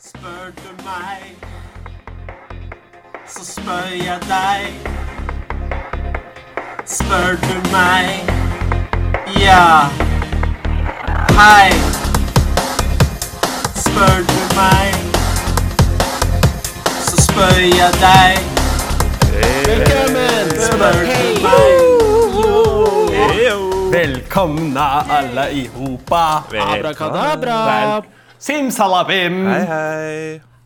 Spør du meg, så spør jeg deg. Spør du meg, ja. Hei. Spør du meg, så spør jeg deg. Velkommen! Spør du meg, jo. Velkomna alle i hopa. Abrakadabra! Simsalabim. Hei, hei.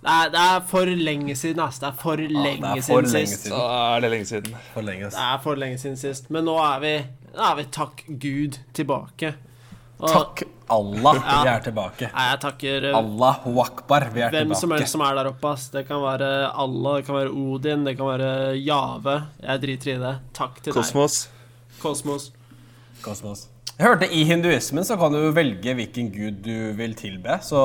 Nei, det er for lenge siden, ass. Det er for lenge det er for siden lenge sist. siden. Da er det lenge siden. For lenge, ass. Det er for lenge siden sist. Men nå er vi, nå er vi takk Gud, tilbake. Og, Takk Allah, vi er tilbake. Nei, jeg takker eh, Allahu akbar, vi er hvem som tilbake. helst som er der oppe, ass. Det kan være Allah, det kan være Odin, det kan være Jave. Jeg driter i det. Takk til Kosmos. deg, Kosmos. Kosmos. Jeg hørte i hinduismen så kan du velge hvilken gud du vil tilbe. Så,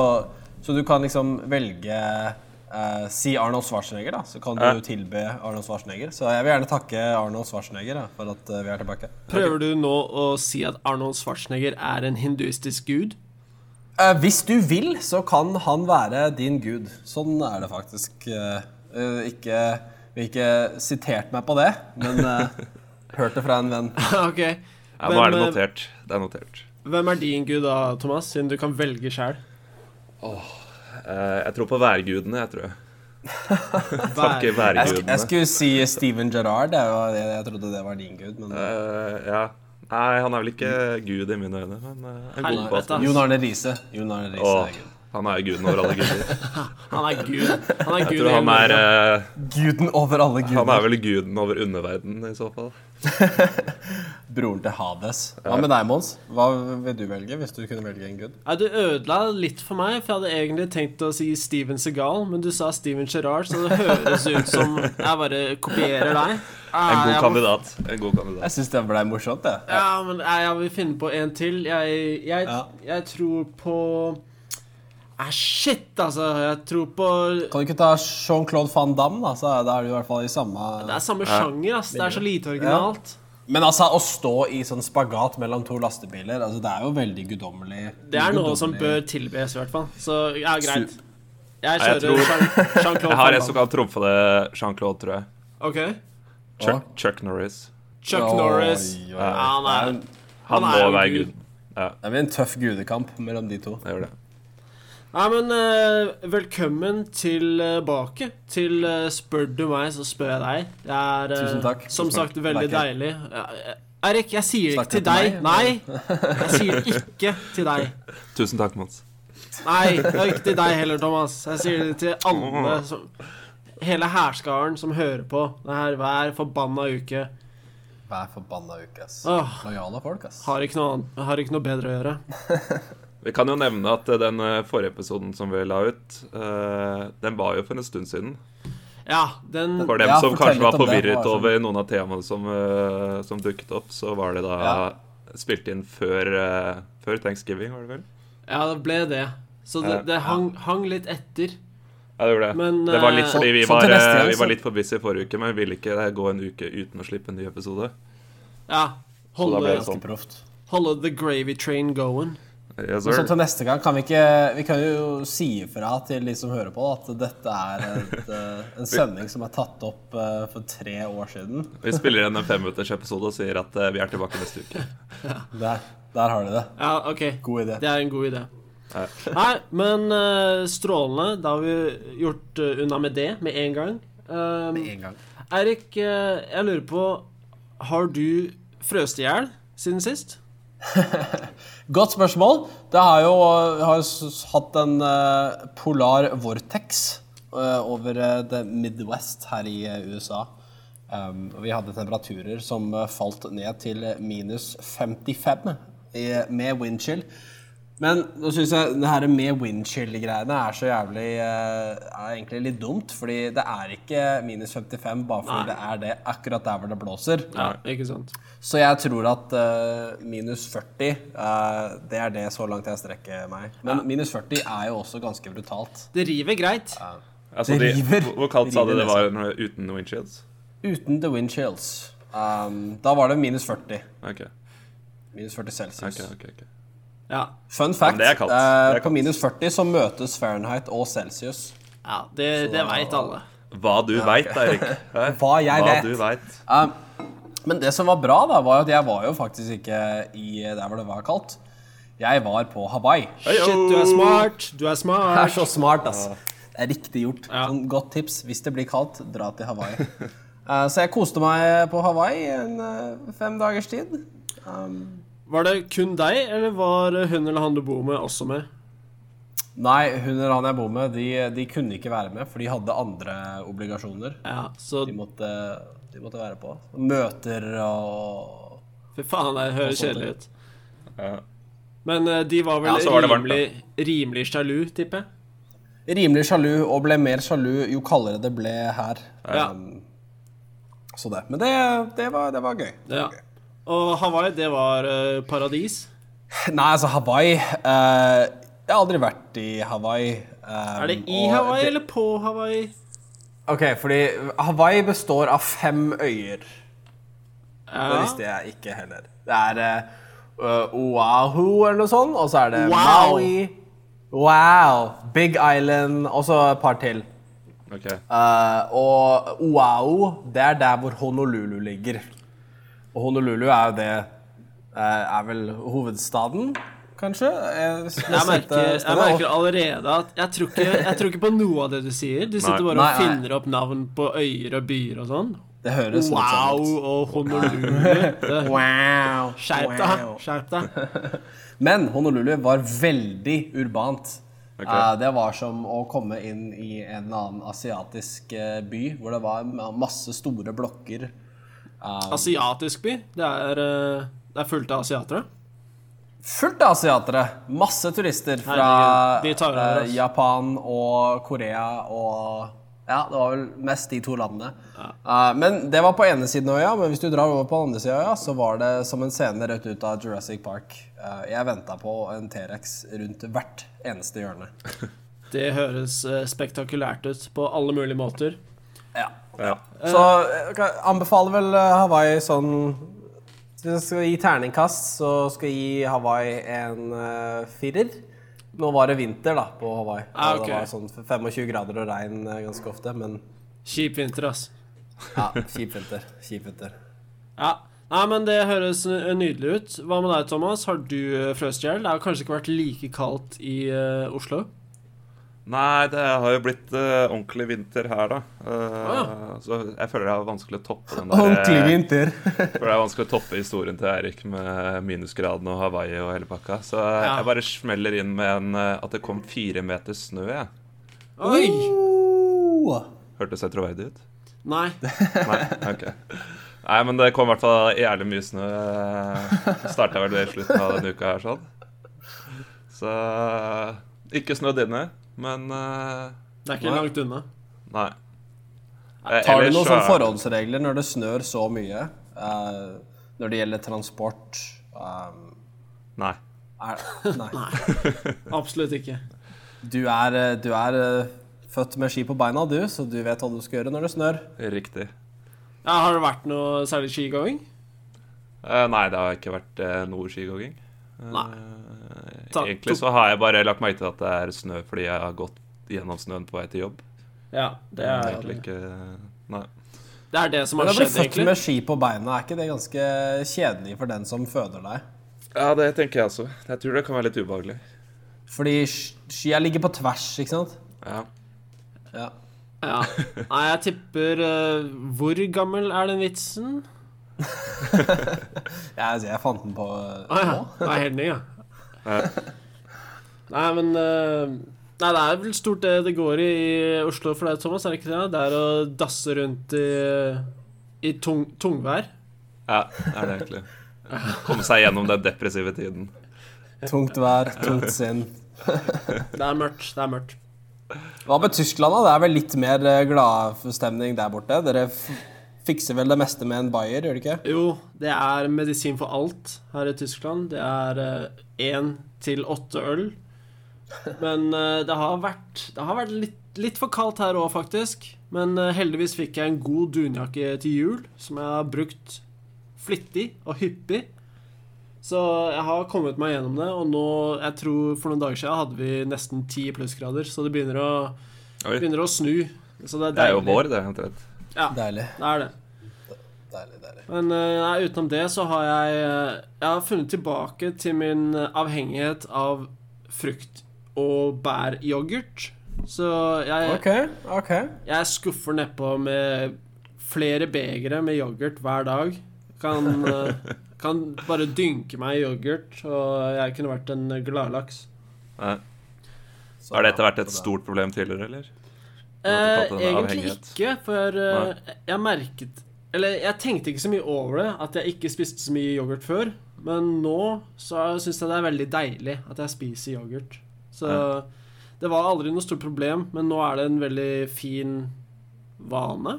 så du kan liksom velge eh, Si Arnold Schwarzenegger, da. Så kan du tilbe Arnold Schwarzenegger. Så jeg vil gjerne takke Arnold Schwarzenegger da, for at eh, vi er tilbake. Prøver du nå å si at Arnold Schwarzenegger er en hinduistisk gud? Eh, hvis du vil, så kan han være din gud. Sånn er det faktisk. Eh, eh, ikke, vi har ikke sitert meg på det, men uh, hørt det fra en venn. ok. Ja, nå er det eh, notert. Det er notert. hvem er din gud da, Thomas, siden du kan velge sjæl? Eh, jeg tror på værgudene, jeg tror jeg. Vær- Takke Jeg, sk værgudene. jeg skulle si Steven Gerrard. Jeg, jeg, jeg trodde det var din gud. Men Eh, ja. Nei, han er vel ikke gud i mine øyne, men eh, en god Helvete, partner. ass. Jon Arne Riise. Jon Arne Riise Åh, er gud. han er guden over alle guder. Han er gud. Han er Jeg gud tror i han er, Norge. eh, Guden over alle han er guder. vel guden over underverdenen, i så fall. Broren til Hades. Hva med deg, Mons? Hva vil du velge hvis du kunne velge en gud? Ja, du ødela litt for meg, for jeg hadde egentlig tenkt å si Steven Segal, men du sa Steven Gerrard, så det høres ut som jeg bare kopierer deg. En Ah, god jeg må- kandidat. En god kandidat. Jeg syns det ble morsomt, jeg. Ja, men nei, jeg vil finne på en til. Jeg, jeg, Ja. jeg tror på Ah, shit, altså. Jeg tror på Kan du ikke ta Jean-Claude van Damme, da? Så er- da er du i hvert fall i samme Det er samme sjanger, ass. Det er så lite originalt. Men altså, å stå i sånn spagat mellom to lastebiler, altså, det er jo veldig guddommelig. Det er noe guddommelig. som bør tilbes, i hvert fall. Så ja, greit. Jeg Jeg kjører Jean- Jean-Claude Jeg har Van en som Damme. kan trumfe det, Jean-Claude, tror jeg. Ok. Chuck, Chuck Norris. Chuck Oi, Norris. oi, oi. Ja, han er Han Han må er jo være gud. gud. Ja, Det blir en tøff gudekamp mellom de to. jeg gjør det. Nei, men eh, velkommen tilbake til eh, Spør du meg, så spør jeg deg. Det er eh, Tusen takk. som Tusen sagt takk. veldig Takk. deilig. Eh, Eirik, jeg sier ikke Snakker til du til deg. meg, Nei, jeg sier ikke til deg. Tusen takk, Mons. Nei, det er ikke til deg heller, Thomas. Jeg sier det til alle som Hele hærskaren som hører på det her hver forbanna uke. Hver forbanna uke, ass. Åh, Lojale folk, ass. Ah. har ikke noe, annet- har ikke noe bedre å gjøre. Vi kan jo nevne at eh, den eh, forrige episoden som vi la ut, eh, den var jo for en stund siden. Ja, den For dem Ja, som fortell kanskje var litt om det, forvirret bare sånn. over noen av temaene som, eh, som dukket opp, så var det da Ja. spilt inn før, eh, før thanksgiving, var det vel? Ja, det ble det. Så det, det hang, hang litt etter. Ja, det gjorde det. Men, det var litt eh, fordi vi så- så var, til neste eh, gang vi så- var litt for busy forrige uke, men vi ville ikke eh, gå en uke uten å slippe en ny episode. Ja. da ble Holde, det sånn. Ganske proft. holde the gravy train going. Yes, Så sir. til neste gang kan vi ikke Vi kan jo si ifra til de som hører på, at dette er et, eh, en sending som er tatt opp eh, for tre år siden. Vi spiller inn en femminuttersepisode og sier at eh, vi er tilbake neste uke. Der, der har du det. Ja, OK. God idé. Det er en god idé. Nei, men eh, strålende. Da har vi gjort eh, unna med det med en gang. Um, En gang. Eirik, eh, jeg lurer på Har du frøst i hjel siden sist? Godt spørsmål. Det har jo har jo s- hatt en eh, polar vortex eh, over eh, the Midwest her i eh, USA. Um, og vi hadde temperaturer som eh, falt ned til eh, minus 55 i, med windchill. Men nå syns jeg det her med windchill-greiene er så jævlig eh, er egentlig litt dumt. Fordi det er ikke minus 55 bare fordi det er det akkurat der hvor det blåser. Ja, ikke sant? Så jeg tror at eh, minus 40 eh, Det er det så langt jeg strekker meg. Men minus 40 er jo også ganske brutalt. Det river greit. Altså, Det de, river. hvor- Hvor kaldt sa Det du river det var når- uten windshields? Uten the wind chills. Um, da var det minus 40. Ok, Minus 40 celsius. ok, ok, ok. Ja. Fun fact, det er kaldt. eh, Det er på kaldt. minus 40 så møtes Fahrenheit og Celsius. ja det det veit alle. Hva du veit, Eirik. Hæ? Hva jeg Hva vet. du vet. Eh, men det som var bra, da, var jo at jeg var jo faktisk ikke i der hvor det var kaldt. Jeg var på Hawaii. Shit, du er smart. Du er Det er smart. så smart, ass. Det er riktig gjort. Ja. Sånn godt tips. Hvis det blir kaldt, dra til Hawaii. Eh, så jeg koste meg på Hawaii en eh, fem dagers tid. Var det kun deg, eller var hun eller han du bor med, også med? Nei, hun eller han jeg bor med, de, de kunne ikke være med, for de hadde andre obligasjoner. Ja, så De måtte, de måtte være på. Møter og Fy faen, det høres sånt, kjedelig ut. Ja. Men eh, de var vel Ja, så var det varmt, da. rimelig, rimelig sjalu, tipper jeg. Rimelig sjalu, og ble mer sjalu jo kaldere det ble her. Ja. Um, så det. Men det, det, var, det var gøy. Ja. Og Hawaii, det var eh, paradis. Nei, altså, Hawaii eh, Jeg har aldri vært i Hawaii. um, Er det i og Hawaii det- eller på Hawaii? Ok, fordi Hawaii består av fem øyer. Det Ja. visste jeg ikke heller. Det er eh, Oahu eller noe sånt, og så er det Wow. Maui. Wow! Big Island, og så et par til. Ok. Eh, og Oahu, det er der hvor Honolulu ligger. Og Honolulu er jo det eh, Er vel hovedstaden, kanskje? Jeg, Jeg merker, jeg merker allerede at jeg tror, ikke, jeg tror ikke på noe av det du sier. Du sitter bare Nei, og nei. finner opp navn på øyer og byer og sånn. Det høres litt Wow sånn ut. og Honolulu. Det- Wow. Skjerp deg. Skjerp deg. Men Honolulu var veldig urbant. Ok. Eh, det var som å komme inn i en eller annen asiatisk eh, by hvor det var ma- masse store blokker. eh, Asiatisk by. Det er, eh, det er fullt av asiatere. Fullt av asiatere! Masse turister fra Herregud, de tar over eh, oss. Japan og Korea og Ja, det var vel mest de to landene. Eh, men det var på ene siden av øya, men hvis du drar over på den andre siden av øya, så var det som en scene rett ut av Jurassic Park. Eh, jeg venta på en T-rex rundt hvert eneste hjørne. Det høres eh, spektakulært ut på alle mulige måter. Ja. Ja. Så jeg kan- anbefaler vel eh, Hawaii sånn Hvis jeg skal gi terningkast, så skal jeg gi Hawaii en eh, firer. Nå var det vinter da, på Hawaii. Ah, og ok. Det var sånn 25 grader og regn eh, ganske ofte, men Kjip vinter, ass. ja, kjip vinter. Kjip vinter. Ja. Nei, men det høres n- nydelig ut. Hva med deg, Thomas? Har du eh, frøst i hjel? Det har kanskje ikke vært like kaldt i eh, Oslo? Nei, det har jo blitt eh, ordentlig vinter her, da. Eh, Så jeg føler det er vanskelig å toppe den der eh, Ordentlig vinter. For det er vanskelig å toppe historien til Eirik med minusgradene og Hawaii og hele pakka. Så jeg, jeg bare smeller inn med en, eh, at det kom fire meter snø. jeg. Oi! Oh. Hørtes jeg troverdig ut? Nei. Nei, ok. Nei, men det kom i hvert fall jævlig mye snø. Starta vel det i slutten av denne uka her, sånn. Så eh, ikke snødd inne, men eh, Det er ikke langt unna. nei. Eh, Tar du sånn noen ellers så sånne er- forholdsregler når det snør så mye? eh, når det gjelder transport um, Nei. er, Nei. Absolutt ikke. Du er, eh, du er eh, født med ski på beina, du, så du vet hva du skal gjøre når det snør. Riktig. Ja, har det vært noe særlig skigåing? Eh, nei, det har ikke vært eh, noe skigåing. Eh, Nei. Ta- egentlig så har jeg bare lagt meg til at det er snø fordi jeg har gått gjennom snøen på vei til jobb. Ja, det Det er er egentlig ikke Nei. det, er det som Men har å bli skjedd, født egentlig. med ski på beina, er ikke det ganske kjedelig for den som føder deg? Ja, det tenker jeg også. Jeg tror det kan være litt ubehagelig. Fordi sk- skia ligger på tvers, ikke sant? Ja. Ja. Ja. Nei, jeg tipper eh, Hvor gammel er den vitsen? Jeg, altså, jeg fant den på Å ja. Det er helt ny, ja. Nei, men eh, Nei, det er vel stort det det går i i Oslo for deg, Thomas, er det ikke det? Det er å dasse rundt i, i tung, tungvær. ja, det er det egentlig. Komme seg gjennom den depressive tiden. eh, tungt vær, tungt sinn. Det er mørkt. Det er mørkt. Hva med Tyskland, da? Det er vel litt mer eh, gladstemning der borte? Dere f fikser vel det meste med en bayer, gjør dere ikke? Jo, det er medisin for alt her i Tyskland. Det er én til åtte øl. Men eh, det har vært, det har vært litt, litt for kaldt her òg, faktisk. Men eh, heldigvis fikk jeg en god dunjakke til jul, som jeg har brukt flittig og hyppig. Så jeg har kommet meg gjennom det, og nå, jeg tror for noen dager siden hadde vi nesten ti plussgrader, så det begynner å, Oi. begynner å snu. Så det er Det er jo deilig. vår, det, omtrent. Deilig. Det er det. Deilig, deilig. Men eh, nei, utenom det så har jeg eh, Jeg har funnet tilbake til min eh, avhengighet av frukt- og bæryoghurt. Så jeg, OK. ok jeg skuffer nedpå med flere begre med yoghurt hver dag. Kan, eh, kan bare dynke meg i yoghurt, og jeg kunne vært en gladlaks. Nei. Har det etter hvert et stort problem tidligere, eller? Eh, tatt en egentlig avhengighet. ikke, for eh, jeg merket Eller jeg tenkte ikke så mye over det, at jeg ikke spiste så mye yoghurt før. Men nå så syns jeg det er veldig deilig at jeg spiser yoghurt. Så Ja. det var aldri noe stort problem, men nå er det en veldig fin vane.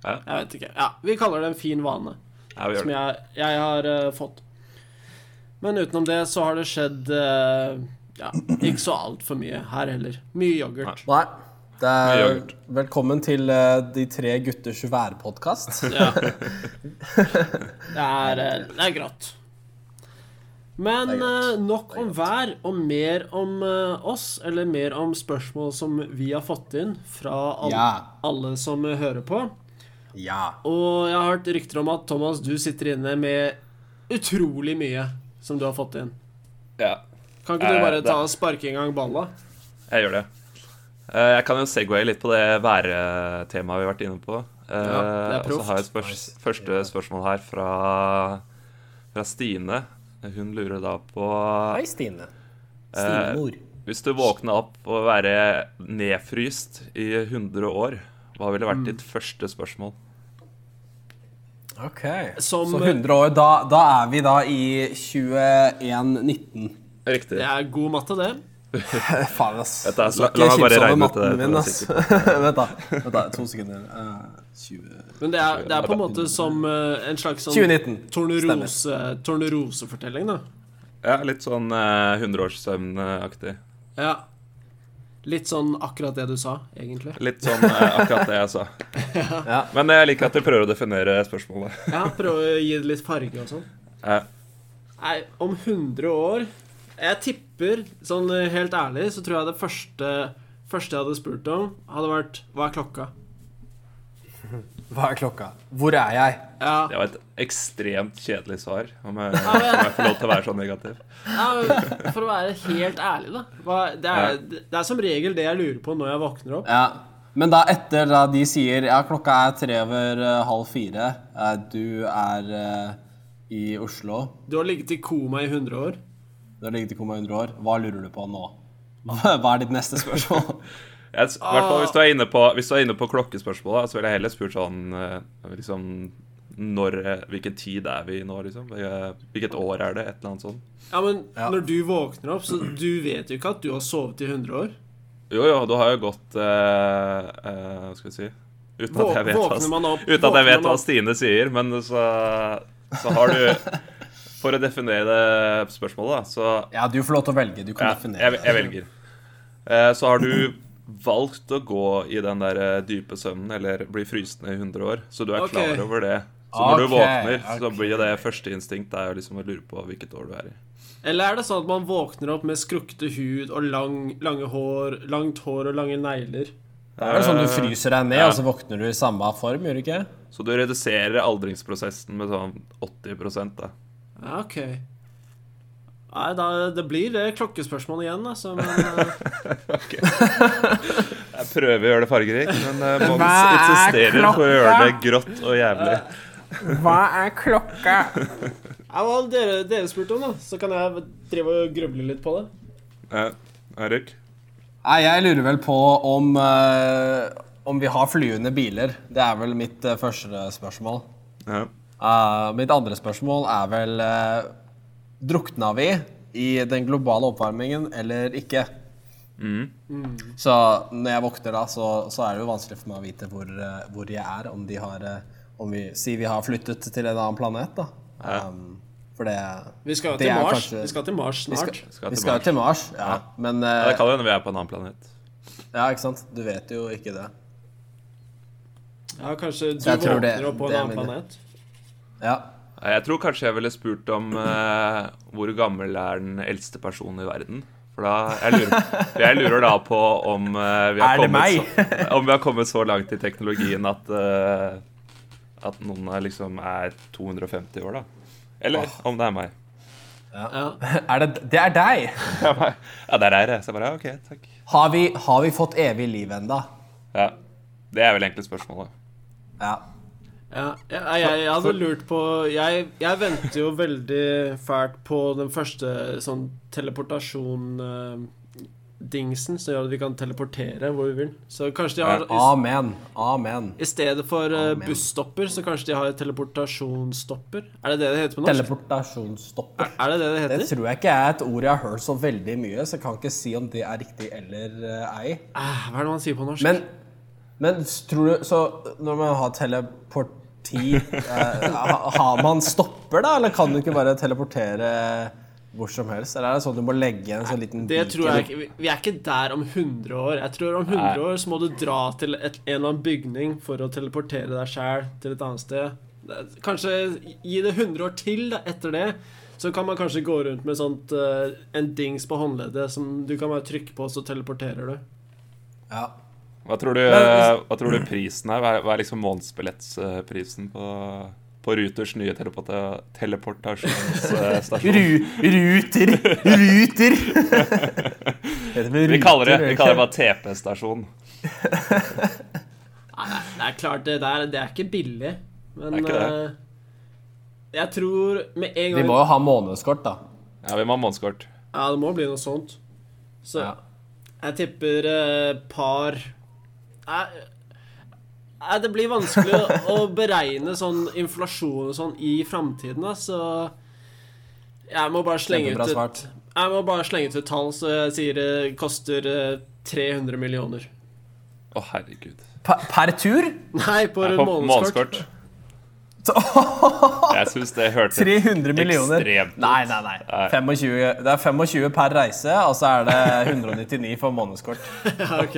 Ja. Jeg vet ikke. Ja, vi kaller det en fin vane Ja, vi gjør som det. jeg, jeg har eh, fått. Men utenom det så har det skjedd eh, ja, ikke så altfor mye her heller. Mye yoghurt. Nei. Det Mye er, yoghurt. velkommen til eh, De tre gutters værpodkast. Ja. Det er, eh, det er grått. Men Det er grått. eh, nok om vær, og mer om eh, oss, eller mer om spørsmål som vi har fått inn fra alle, Ja. alle som eh, hører på. Ja. Og jeg har hørt rykter om at Thomas, du sitter inne med utrolig mye som du har fått inn. Ja, Kan ikke du Eh, bare det- ta og sparke en gang balla? jeg gjør det. Eh, Jeg kan jo segwaye litt på det væretemaet vi har vært inne på. Eh, Ja, det er og så har jeg et spørs proft. første spørsmål her fra, fra Stine. Hun lurer da på Hei, Stine. Eh, Stine-mor. Hvis du våkna opp og være nedfryst i 100 år, hva ville Mm. vært ditt første spørsmål? OK. Som- så 100 år. Da, da er vi da i 2119. Riktig. Det er god matte, det. Faen, ass. Vet du, la- Skal la ikke meg bare kimse over regne ut det matten der, min, for ass. å Vent, da. Vent da, To sekunder. Eh, 20... Men det er, det er på en måte som eh, en slags sånn 2019. tornerose, tornerosefortelling, da. Ja, litt sånn eh, 100-årssøvn-aktig. Ja. Litt sånn akkurat det du sa, egentlig. Litt sånn eh, akkurat det jeg sa. Ja. Men jeg liker at du prøver å definere spørsmålet. Ja, Prøve å gi det litt farge og sånn. Eh, Nei, om 100 år Jeg tipper, sånn eh, helt ærlig, så tror jeg det første, første jeg hadde spurt om, hadde vært Hva er klokka? Hva er klokka? Hvor er jeg? Ja, det var et ekstremt kjedelig svar, om jeg, om jeg får lov til å være så negativ. ja men for å være helt ærlig, da. Hva, det, er, det er som regel det jeg lurer på når jeg våkner opp. Ja. Men da etter da de sier ja, klokka er tre over eh, halv fire, eh, du er eh, i Oslo, Du har ligget i koma i 100 år. du har ligget i koma i 100 år, hva lurer du på nå? Hva er ditt neste spørsmål? Jeg, s- hvert fall hvis du er inne på, hvis du er inne på klokkespørsmålet, så ville jeg heller spurt sånn eh, liksom, når, eh, Hvilken tid er vi i nå, liksom? Eh, Hvilket år er det? Et eller annet sånt. Ja, men Ja. når du våkner opp, så du vet jo ikke at du har sovet i 100 år. Jo, jo, du har jo gått eh, eh, Hva skal vi si Uten at jeg Våk- vet hva, våkner man opp- uten at våkner jeg vet man hva opp- Stine sier, men så, så har du For å definere det spørsmålet, da, så Ja, du får lov til å velge. Du kan ja, jeg, definere. jeg velger. Eh, Så har du valgt å gå i den der eh, dype søvnen, eller bli frysende i 100 år, så du er Ok. klar over det. Så Ok, når du våkner, så ok. blir jo det første instinkt er jo liksom å lure på hvilket år du er i. Eller er det sånn at man våkner opp med skrukkete hud og lang, lange hår, langt hår og lange negler? Det er vel sånn du fryser deg ned, Eh, Ja. og så våkner du i samme form, gjør du ikke? Så du reduserer aldringsprosessen med sånn 80 da. Ja, OK. Nei, da, det blir det klokkespørsmålet igjen, altså. Men eh, Jeg prøver å gjøre det fargerikt, men eh, Mons Hva er insisterer på å gjøre det klokka? grått og jævlig. Hva er klokka? ja, hva dere, dere spurte om, da? Så kan jeg drive og gruble litt på det. Eh, Erik? Nei, jeg lurer vel på om, eh, om vi har flyvende biler. Det er vel mitt eh, første spørsmål. Ja. Eh, mitt andre spørsmål er vel eh, Drukna vi i den globale oppvarmingen eller ikke? Mm. Så når jeg våkner da, så, så er det jo vanskelig for meg å vite hvor, eh, hvor jeg er. Om de har eh, Om vi sier vi har flyttet til en annen planet, da. Um, for det Vi skal jo det til er Mars. kanskje- Vi skal til Mars vi skal- snart. Skal Vi til skal Mars. jo til Mars, ja. Men Ja, det eh, kan jo hende vi er på en annen planet. ja, ikke sant? Du vet jo ikke det. Ja, kanskje du Jeg tror våkner det- opp på en det er annen min- planet. Ja. Jeg tror kanskje jeg ville spurt om eh, hvor gammel er den eldste personen i verden. For da, jeg, lurer, jeg lurer da på om, eh, vi har Er det kommet så, om vi har kommet så langt i teknologien at, eh, at noen er, liksom er 250 år, da. Eller om det er meg. Ja. Er det, det er deg! Ja, meg. ja, der er jeg. Så jeg bare ja, OK, takk. Har vi, har vi fått evig liv enda? Ja, Det er vel egentlig spørsmålet. Ja. Ja, jeg, jeg, jeg hadde lurt på jeg, jeg venter jo veldig fælt på den første sånn teleportasjon-dingsen som gjør at vi kan teleportere hvor vi vil. Så kanskje de har i, Amen. Amen. i stedet for eh, Amen. busstopper, så kanskje de har teleportasjonsstopper? Er det det det heter på norsk? Teleportasjonsstopper. Er det det det Det heter? tror jeg ikke er et ord jeg har hørt så veldig mye, så jeg kan ikke si om det er riktig eller eh, ei. Ah, hva er det man sier på norsk? Men, men s- tror du Så når man har teleporti eh, ha- Har man stopper, da? Eller kan du ikke bare teleportere hvor som helst? Eller er det sånn du må legge en sånn liten Det beacon? tror jeg ikke vi- Vi er ikke der om 100 år. Jeg tror om 100 år så må du dra til et, en eller annen bygning for å teleportere deg sjæl til et annet sted. Det- Kanskje gi det 100 år til da, etter det. Så kan man kanskje gå rundt med sånt, eh, en dings på håndleddet som du kan bare trykke på, så teleporterer du. Ja. Hva tror du, eh, hva tror du prisen er? Hva er, hva er liksom månedsbillettprisen på, på Ruters nye teleporta- teleportasjonsstasjon? ruter! Ruter! Vi kaller det, vi kaller det bare TP-stasjon. Det er klart, det der det er ikke billig, men Det er ikke det. eh, Jeg tror med en Vi gang må jo ha månedskort, da. Ja, vi må ha månedskort. Ja, det må bli noe sånt. Så Ja. Jeg tipper eh, par Nei, nei, det blir vanskelig å beregne sånn inflasjon og sånn i framtiden, da, så jeg må bare slenge ut Kjempebra et, svart. Jeg må bare slenge ut et tall, så jeg sier det koster eh, 300 millioner. Å, herregud. Per, per tur? Nei, på et Jeg får månedskort. månedskort. Jeg syns det hørtes 300 millioner. ekstremt ut. Nei, nei, nei. Nei. 25, det er 25 per reise, og så er det 199 for månedskort. Ja, ok.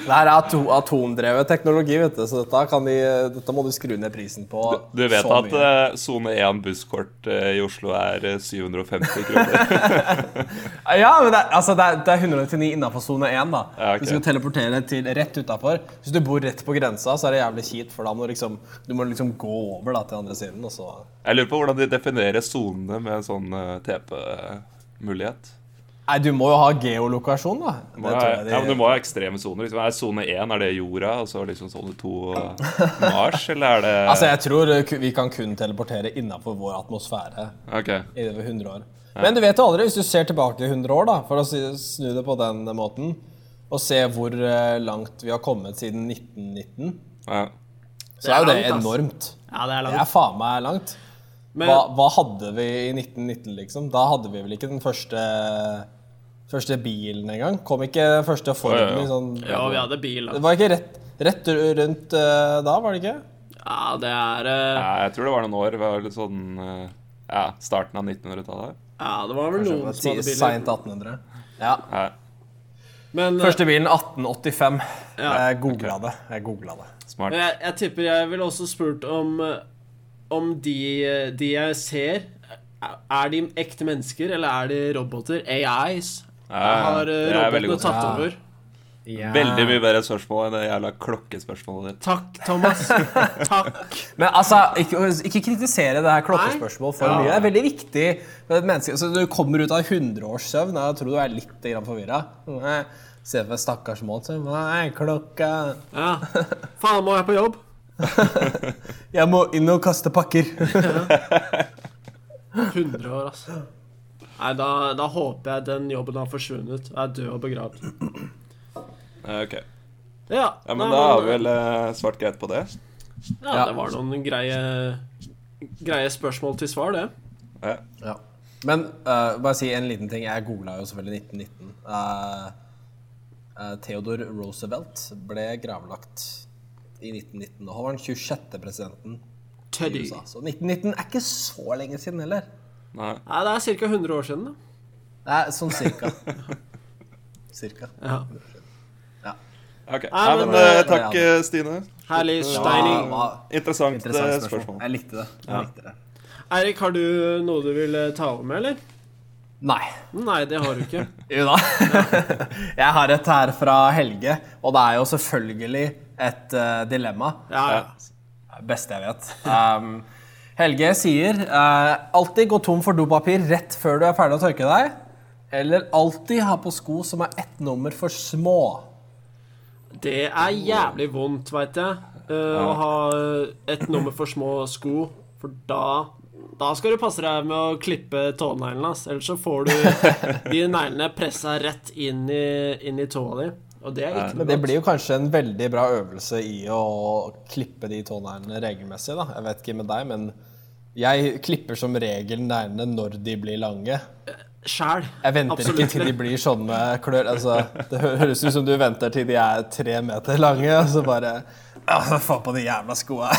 Det her er ato atomdrevet teknologi, vet du, så dette, kan de, dette må du skru ned prisen på. Du vet så at mye. eh, sone 1 busskort eh, i Oslo er eh, 750 kroner? Ja, men det er, altså, det er, det er 199 innafor sone 1, da. eh, Ja, ok. Du skal teleportere til rett utafor. Hvis du bor rett på grensa, så er det jævlig kjipt, for da må du liksom, du må liksom gå over da, til andre siden, og så Jeg lurer på hvordan de definerer sonene med en sånn TP-mulighet. Nei, du må jo ha geolokasjon, da. Det Ja, tror jeg de- ja, men Du må ha ekstreme soner. Liksom. Er sone 1 er det jorda, og så liksom sone 2 eh, Mars, eller er det Altså, jeg tror eh, ku- vi kan kun teleportere innafor vår atmosfære. Ok. i over 100 år. Men du vet jo aldri, hvis du ser tilbake i 100 år, da, for å si- snu det på den måten, og se hvor eh, langt vi har kommet siden 1919, Ja. så er jo det langt, ass. enormt. Ja, det er Det langt. er faen meg langt. Men Hva, hva hadde vi i 1919, liksom? Da hadde vi vel ikke den første, første bilen engang? Kom ikke den første Forden Ja, ja, ja. i sånn ja, vi hadde bil, Det da. var ikke rett, rett rundt eh, da, var det ikke? Ja, det er eh, ja, jeg tror det var noen år. Det var litt sånn eh, ja, starten av 1900-tallet. Ja, det var vel noen som hadde biler. Seint 1800. Ja. Ja. Men eh, Første bilen 1885. Ja. Jeg googla det. Jeg googla det. Smart. Men Jeg, jeg tipper jeg ville også spurt om eh, Om de, eh, de jeg ser er- Er de ekte mennesker, eller er de roboter? AIs? ja. Har eh, Det er robotene veldig godt. tatt Ja. over? Veldig mye bedre spørsmål enn det jævla klokkespørsmålet ditt. Takk, Thomas. Takk. Men altså, ikke, ikke kritisere det her klokkespørsmålet for Nei. Ja. mye. Det er veldig viktig. for et menneske. Så du kommer ut av 100 års søvn, jeg tror du er litt forvirra. Se for deg stakkars Maud som Hva er klokka? Ja. Faen, må jeg på jobb? Jeg må inn og kaste pakker. 100 år, altså. Nei, da, da håper jeg den jobben har forsvunnet. Jeg er død og begravd. Ja, ok. Ja, Ja, men nei, da er vi vel eh, svart greit på det. Ja, det var noen greie, greie spørsmål til svar, det. Ja. Ja. Men eh, bare si en liten ting. Jeg googla jo selvfølgelig 1919. Eh, eh, Theodore Roosevelt ble gravlagt i 1919. Og han var den 26. presidenten i Teddy. USA. altså. Så 1919 er ikke så lenge siden heller. Nei. Nei, det er ca. 100 år siden, da. Det er sånn cirka. cirka. Ja. Ok. Nei, Nei, men, men eh, eh, takk, eh, Stine. Herlig Ja, steining. hva- Interessant, eh, Interessant spørsmål. spørsmål. Jeg likte det. Jeg likte det. Eirik, har du noe du vil eh, ta over med, eller? Nei. Nei, det har du ikke. Jo da. Jeg har et her fra Helge, og det er jo selvfølgelig et eh, dilemma. Ja, ja. Beste jeg vet. Um, Helge sier eh, alltid gå tom for dopapir rett før du er ferdig å tørke deg. Eller alltid ha på sko som er ett nummer for små. Det er jævlig vondt, veit jeg. eh, Å ha eh, et nummer for små sko, for da da skal du passe deg med å klippe tåneglene, ass. Ellers så får du de neglene pressa rett inn i, inn i tåa di. Og det er ikke noe Men det blir jo kanskje en veldig bra øvelse i å klippe de tåneglene regelmessig. da. Jeg vet ikke med deg, men jeg klipper som regel neglene når de blir lange. sjæl. Jeg venter ikke til de blir sånne klør. Altså, det hø- høres ut som du venter til de er tre meter lange, og så bare «Åh, Få på de jævla skoa.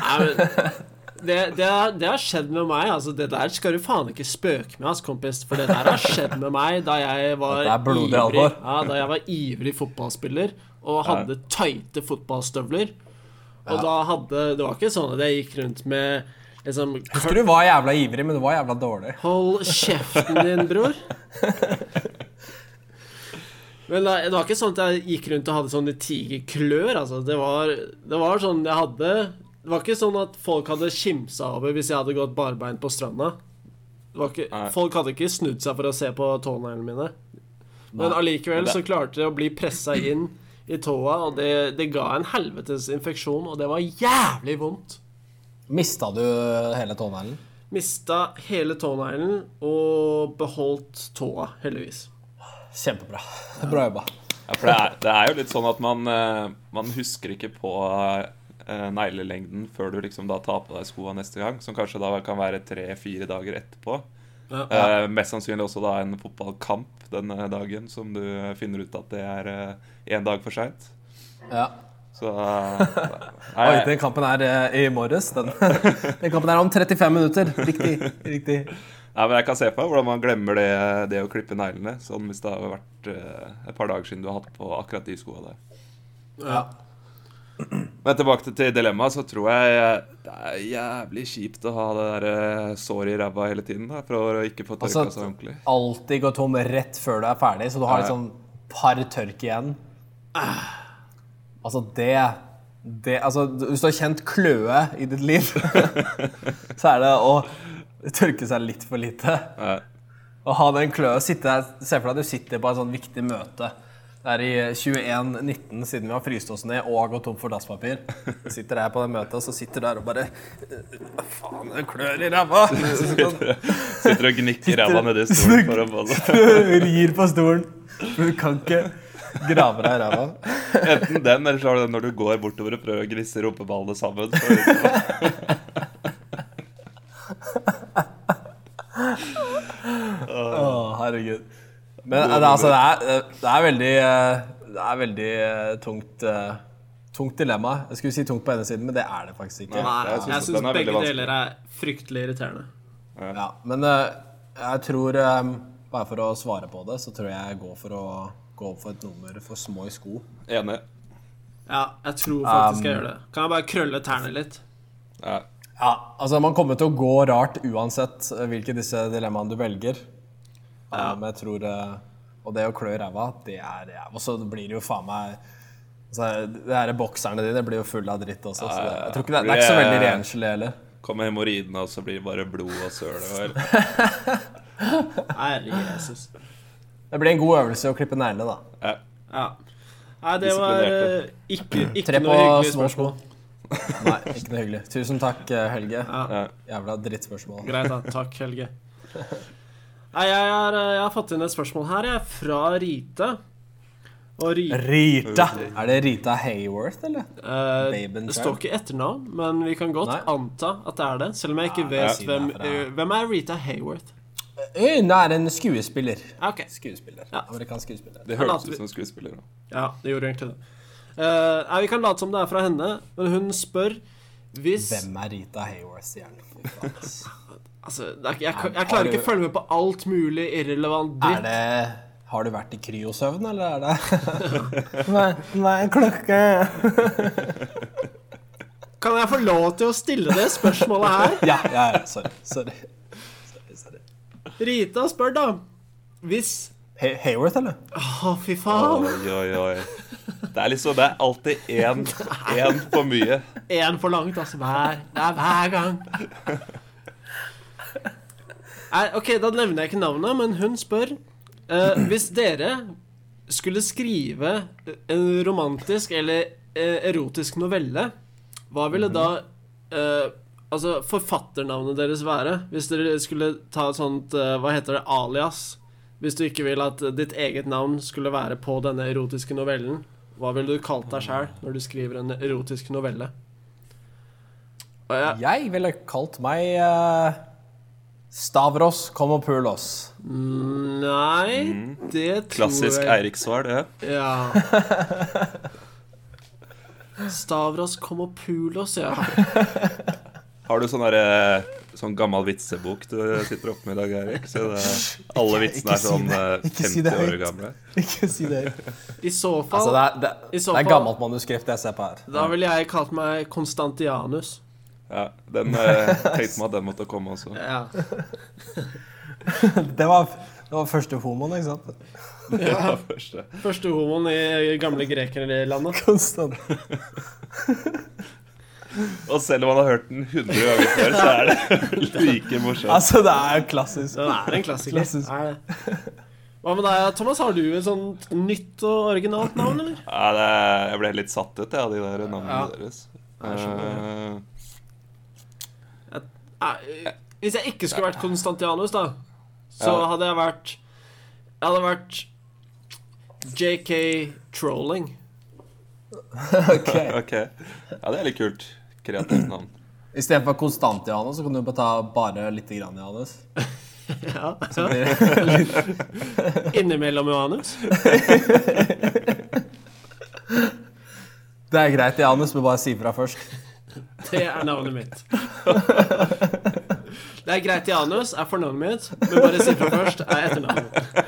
Nei, men, det, det, har- det har skjedd med meg. Altså, det der skal du faen ikke spøke med, ass, kompis. For det der har skjedd med meg da jeg var Dette er blodig ivrig, alvor. ja, da jeg var ivrig fotballspiller og hadde tøyte fotballstøvler. Og da hadde Det var ikke sånn at jeg gikk rundt med liksom Husker du var jævla ivrig, men du var jævla dårlig. Hold kjeften din, bror. Men det, det var ikke sånn at jeg gikk rundt og hadde sånne tigerklør, altså. Det var, det var sånn jeg hadde Det var ikke sånn at folk hadde kimsa over hvis jeg hadde gått barbeint på stranda. Det var ikke, Nei. folk hadde ikke snudd seg for å se på tåneglene mine. Men allikevel så klarte det å bli pressa inn i tåa, og det, det ga en helvetes infeksjon, og det var jævlig vondt. Mista du hele tåneglen? Mista hele tåneglen og beholdt tåa, heldigvis. Kjempebra. Bra jobba. Ja, for det er, det er jo litt sånn at man, eh, man husker ikke på eh, neglelengden før du liksom da tar på deg skoa neste gang, som kanskje da kan være tre-fire dager etterpå. Ja. Eh, mest sannsynlig også da en fotballkamp den eh, dagen, som du finner ut at det er én dag for seint. Ja. Så eh, Oi, nei, den kampen er eh, i morges. Den, den kampen er om 35 minutter. Riktig. riktig. Nei, men Jeg kan se på hvordan man glemmer det, det å klippe neglene. Sånn Hvis det har vært eh, et par dager siden du har hatt på akkurat de skoa der. Ja. Men tilbake til- til dilemmaet, så tror jeg eh, det er jævlig kjipt å ha det der eh, såret i ræva hele tiden da, for å ikke få tørka Altså, seg ordentlig. Alltid gå tom rett før du er ferdig, så du har liksom par tørk igjen. Altså, det, det Altså, hvis du har kjent kløe i ditt liv, så er det å tørke seg litt for lite. Ja. Å ha den kløa sitte der, Se for deg at du sitter på et sånn viktig møte. Det er i 2119, siden vi har fryst oss ned og har gått tom for dasspapir. Du sitter her på det møtet, og så sitter du der og bare «Hva Faen, det klør i ræva! Så sitter du- Sitter og gnikker ræva nedi stolen for å få det. Rir på stolen. Du kan ikke grave deg i ræva. Enten den, eller så har du den når du går bortover og prøver å grisse rumpeballene sammen. for å- Å, herregud. Men eh, det, altså, det, er, det er veldig eh, Det er veldig eh, tungt eh, Tungt dilemma. Jeg skulle si tungt på ene siden, men det er det faktisk ikke. Nei, jeg Nei, jeg synes at den syns er begge veldig vanskelig. deler er fryktelig irriterende. Ja, men eh, jeg tror eh, Bare for å svare på det, så tror jeg jeg går for å gå opp for et nummer for små i sko. Enig. Ja, jeg tror faktisk Um, jeg gjør det. Kan jeg bare krølle tærne litt? Ja. Ja, altså Man kommer til å gå rart uansett eh, hvilke disse dilemmaene du velger. Ja. men jeg tror eh, Og det å klø i ræva, det er ja. Og så blir det jo faen meg altså, Det her bokserne dine blir jo fulle av dritt også. Så det, jeg tror ikke det, det er ikke så veldig renskjellig heller. Kommer hemoroidene, og så blir det bare blod og søl. og- Herre Jesus. Det blir en god øvelse å klippe neglene, da. Ja. Ja. Nei, det var eh, ikke, Tre ikke på noe hyggelig små sko. spørsmål. Nei, ikke noe hyggelig. Tusen takk, eh, Helge. Ja. Jævla drittspørsmål. Greit, da. Takk, Helge. Nei, jeg har, eh, jeg har fått inn et spørsmål her, jeg, fra Rite. Og Rite Rita! Er det Rita Hayworth, eller? Eh, Baben det Charm? står ikke etternavn, men vi kan godt Nei. anta at det er det. Selv om jeg ikke Nei, jeg vet sier det hvem, er fra- eh, hvem er Rita Hayworth. Hun er en skuespiller. Ja, Ok, Skuespiller. Ja. Amerikansk skuespiller. Det høres ut som skuespiller. da. ja, det gjorde egentlig det. Eh, nei, vi kan late som det er fra henne, men hun spør hvis Hvem er Rita Hayworth, sier han. Fy faen, ass. altså, det er, ikke- jeg, jeg, Har jeg klarer du- ikke å følge med på alt mulig irrelevant Er dritt. det Har du vært i kryosøvn, eller er det Nei, nei klokka Kan jeg få lov til å stille det spørsmålet her? Ja, ja, ja, sorry. sorry. sorry, sorry. Rita spør, da. Hvis Hay- Hayworth, eller? Å, fy faen. Oi, oi, oi. Det er liksom Det er alltid én, én for mye. Én for langt, altså. Hver, det er hver gang. Nei, ok, da nevner jeg ikke navnet, men hun spør eh, Hvis dere skulle skrive en romantisk eller eh, erotisk novelle, hva ville da eh, Altså forfatternavnet deres være? Hvis dere skulle ta et sånt eh, Hva heter det? Alias? Hvis du ikke vil at ditt eget navn skulle være på denne erotiske novellen, hva ville du kalt deg sjæl når du skriver en erotisk novelle? Og jeg, Jeg ville kalt meg eh, Stavros Komopoulos. Nei, det tror Klassisk jeg Eirik-svar, det. Ja. Stavros Komopulos, ja. Har du sånn derre Sånn gammel vitsebok du sitter oppe med i dag, Eirik? Så det, alle Ikke vitsene er si sånn det. eh, Ikke si det 50 år høyt. gamle. Ikke si det. I så fall, Altså, det er, det, I så det er fall- gammelt manuskript jeg ser på her. da ville jeg kalt meg Konstantianus. Ja, den eh, tenkte meg at den måtte komme også. Ja. Det var, det var første homoen, ikke sant? Det var første. Første homoen i gamle grekerlandet. Konstant. Og selv om man har hørt den 100 ganger før, så er det like morsomt. Altså, det er jo klassisk. Den er en klassiker. Klassisk. Er det. Hva med deg, Thomas? Har du et sånt nytt og originalt navn, eller? Ja, det, jeg ble litt satt ut, jeg, av de der navnene Ja. deres. Jeg skjønner Eh, Nei, hvis jeg ikke skulle vært Konstantianus, da, så Ja. hadde jeg vært Jeg hadde vært JK Trolling. Ok. Eh, ok. Ja, det er litt kult. Kreativt navn. Istedenfor konstant Johannes, så kan du bare ta bare lite grann Johannes. Ja. Innimellom Johannes. Det er greit, Johannes, men bare si fra først. Det er navnet mitt. Det er greit, Janus er fornavnet mitt, men bare si fra først er etternavnet mitt.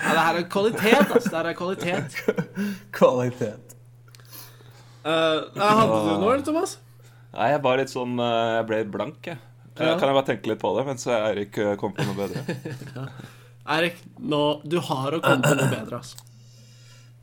Ja, det her er kvalitet, altså. Det her er kvalitet. Kvalitet. Eh, hadde du noe, eller, Thomas? Nei, jeg var litt sånn eh, Jeg ble blank, jeg. Eh, Ja. Kan jeg bare tenke litt på det mens Eirik eh, kom på noe bedre? Eirik, nå Du har å komme på noe bedre, altså.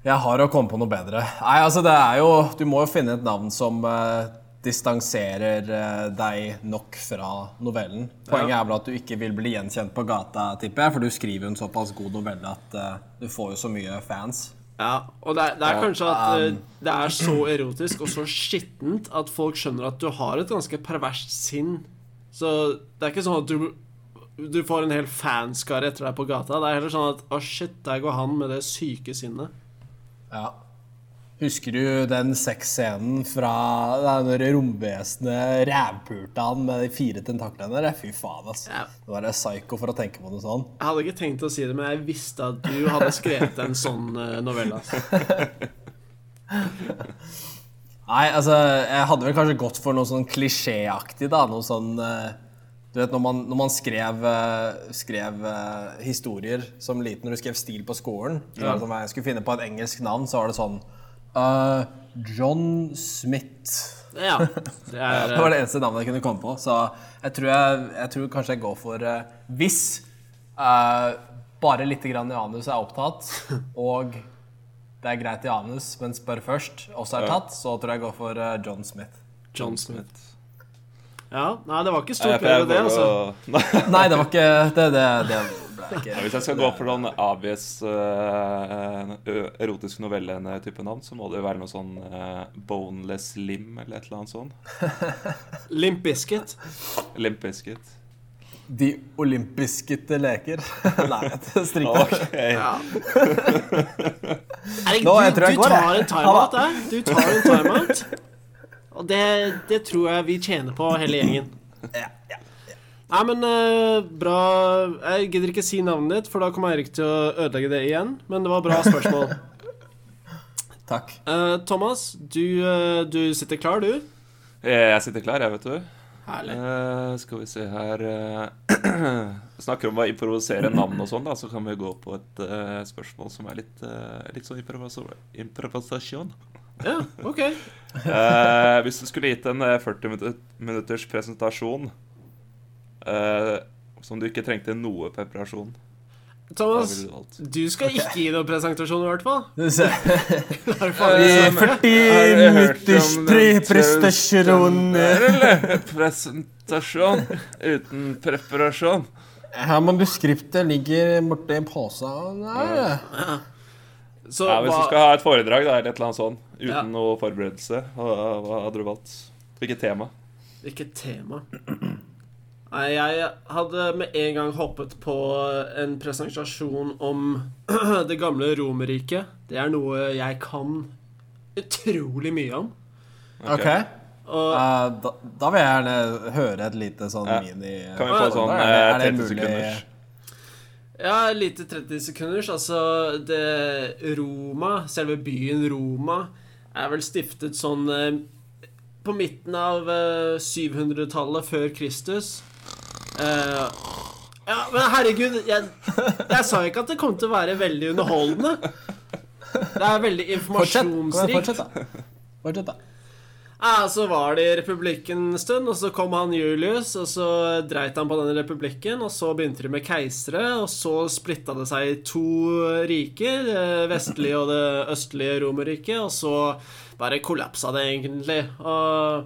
Jeg har å komme på noe bedre. Nei, altså, det er jo Du må jo finne et navn som eh, distanserer eh, deg nok fra novellen. Poenget er vel at du ikke vil bli gjenkjent på gata, tipper jeg, for du skriver jo en såpass god novelle at eh, du får jo så mye fans. Ja, og det er, det er kanskje at eh, det er så erotisk og så skittent at folk skjønner at du har et ganske perverst sinn. Så det er ikke sånn at du, du får en hel fanskare etter deg på gata. Det er heller sånn at å, shit, der går han med det syke sinnet. Ja. Husker du den sexscenen fra det der romvesenet rævpulte han med de fire tentaklene der? Fy faen, altså. Ja. Det var psyko for å tenke på noe sånn. Jeg hadde ikke tenkt å si det, men jeg visste at du hadde skrevet en sånn eh, novelle. altså. Nei, altså, jeg hadde vel kanskje gått for noe sånn klisjéaktig, da. Noe sånn eh, Du vet, når man, når man skrev, eh, skrev eh, historier som liten, når du skrev stil på skolen så var det sånn, Jeg skulle finne på et engelsk navn, så var det sånn eh, John Smith. Ja, det er Det var eh, det eneste navnet jeg kunne komme på. Så jeg tror, jeg, jeg tror kanskje jeg går for eh, Hvis eh, bare litt grann Janus er opptatt, og det er greit Janus, men spør først, også er tatt, så tror jeg jeg går for eh, John Smith. John Smith. Ja, Nei, det var ikke Nei, stort for jeg bedre, det, går altså. og- Nei, Nei, det var ikke Det, det, det ble Ja, ikke Hvis jeg skal gå for sånn obvious eh, ø- erotisk novelle-type navn, så må det jo være noe sånn eh, Boneless Lim eller et eller annet sånt. Limp Biscuit. Limp Bizkit. De olympiske til leker. Nei, det er strengt nok. Ok. Erik, Nå, jeg du, tror jeg du går, jeg. tar en timeout der. Du tar en timeout. Og det, det tror jeg vi tjener på, hele gjengen. Nei, men eh, bra Jeg gidder ikke si navnet ditt, for da kommer Eirik til å ødelegge det igjen. Men det var bra spørsmål. Takk. Eh, Thomas, du, eh, du sitter klar, du? Jeg sitter klar, jeg, vet du. Herlig. Eh, skal vi se her eh, Snakker om å improvisere navn og sånn, da, så kan vi gå på et eh, spørsmål som er litt, eh, litt sånn improviso- improvisasjon. Ja, ok. Eh, hvis du skulle gitt en eh, 40 minut- minutters presentasjon eh, som du ikke trengte noe preparasjon, hva Thomas, ville du valgt? du skal ikke gi noen presentasjon, i hvert fall. Det er faen Eh, ikke men- sant, det. Har du hørt om 40 den presentasjonen prestasjoner. der, eller? Presentasjon uten preparasjon. Her manuskriptet ligger borti posen der. Så Ja, hvis du hva skal ha et foredrag da, eller et eller annet sånt, uten Ja. noe forberedelse, hva, hva hadde du valgt? Hvilket tema? Hvilket tema? Nei, jeg hadde med en gang hoppet på en presentasjon om det gamle Romerriket. Det er noe jeg kan utrolig mye om. Ok. Og Eh, da, da vil jeg gjerne høre et lite sånn Ja. mini Kan vi få Hva- sånn Er det- eh, er det 30 mulig- sekunders? Ja, lite 30 sekunders. Altså, det Roma, selve byen Roma, er vel stiftet sånn eh, på midten av eh, 700-tallet før Kristus. Eh, ja, men herregud, jeg, jeg sa ikke at det kom til å være veldig underholdende. Det er veldig Fortsett. Kom igjen, informasjonsrikt. Fortsett, da. Fortsett, da. Ja, så var det i republikken en stund, og så kom han Julius, og så dreit han på denne republikken, og så begynte de med keisere, og så splitta det seg i to riker, det vestlige og det østlige Romerriket, og så bare kollapsa det egentlig. Og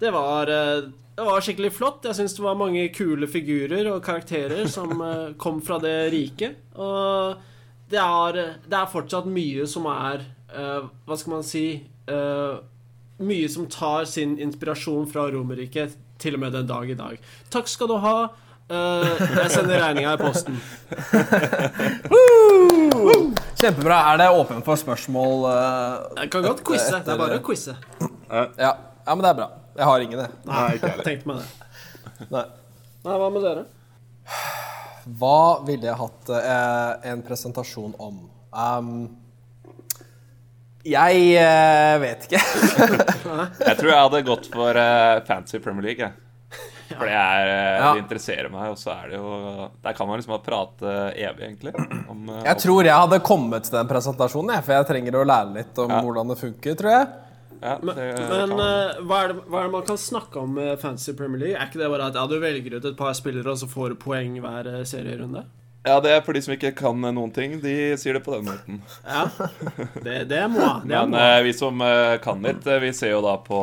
det var eh, det var skikkelig flott. Jeg syns det var mange kule figurer og karakterer som eh, kom fra det riket. Og det er, det er fortsatt mye som er eh, Hva skal man si eh, Mye som tar sin inspirasjon fra Romerriket til og med den dag i dag. Takk skal du ha. Eh, jeg sender regninga i posten. Kjempebra. Er det åpen for spørsmål? eh, Jeg kan godt quize. Det er bare å quize. ja. ja, men det er bra. Jeg har ingen, jeg. Nei, tenkte meg det. Nei. Nei, hva med dere? Hva ville jeg hatt eh, en presentasjon om? Ehm, jeg eh, vet ikke. Jeg tror jeg hadde gått for eh, fancy Premier League, jeg. For det, er, eh, Ja. det interesserer meg, og så er det jo Der kan man liksom bare prate evig, egentlig. Om, eh, Jeg tror jeg hadde kommet til den presentasjonen, jeg, for jeg trenger å lære litt om hvordan det funker, tror jeg. ja, det, kan Men man. eh, hva, er det, hva er det man kan snakke om med Fantasy Premier League? Er ikke det bare at ja, du velger ut et par spillere, og så får du poeng hver eh, serierunde? Ja, det er for de som ikke kan eh, noen ting. De sier det på den måten. Ja. Det, det må jeg. Det Men må jeg. eh, vi som eh, kan litt, eh, vi ser jo da på,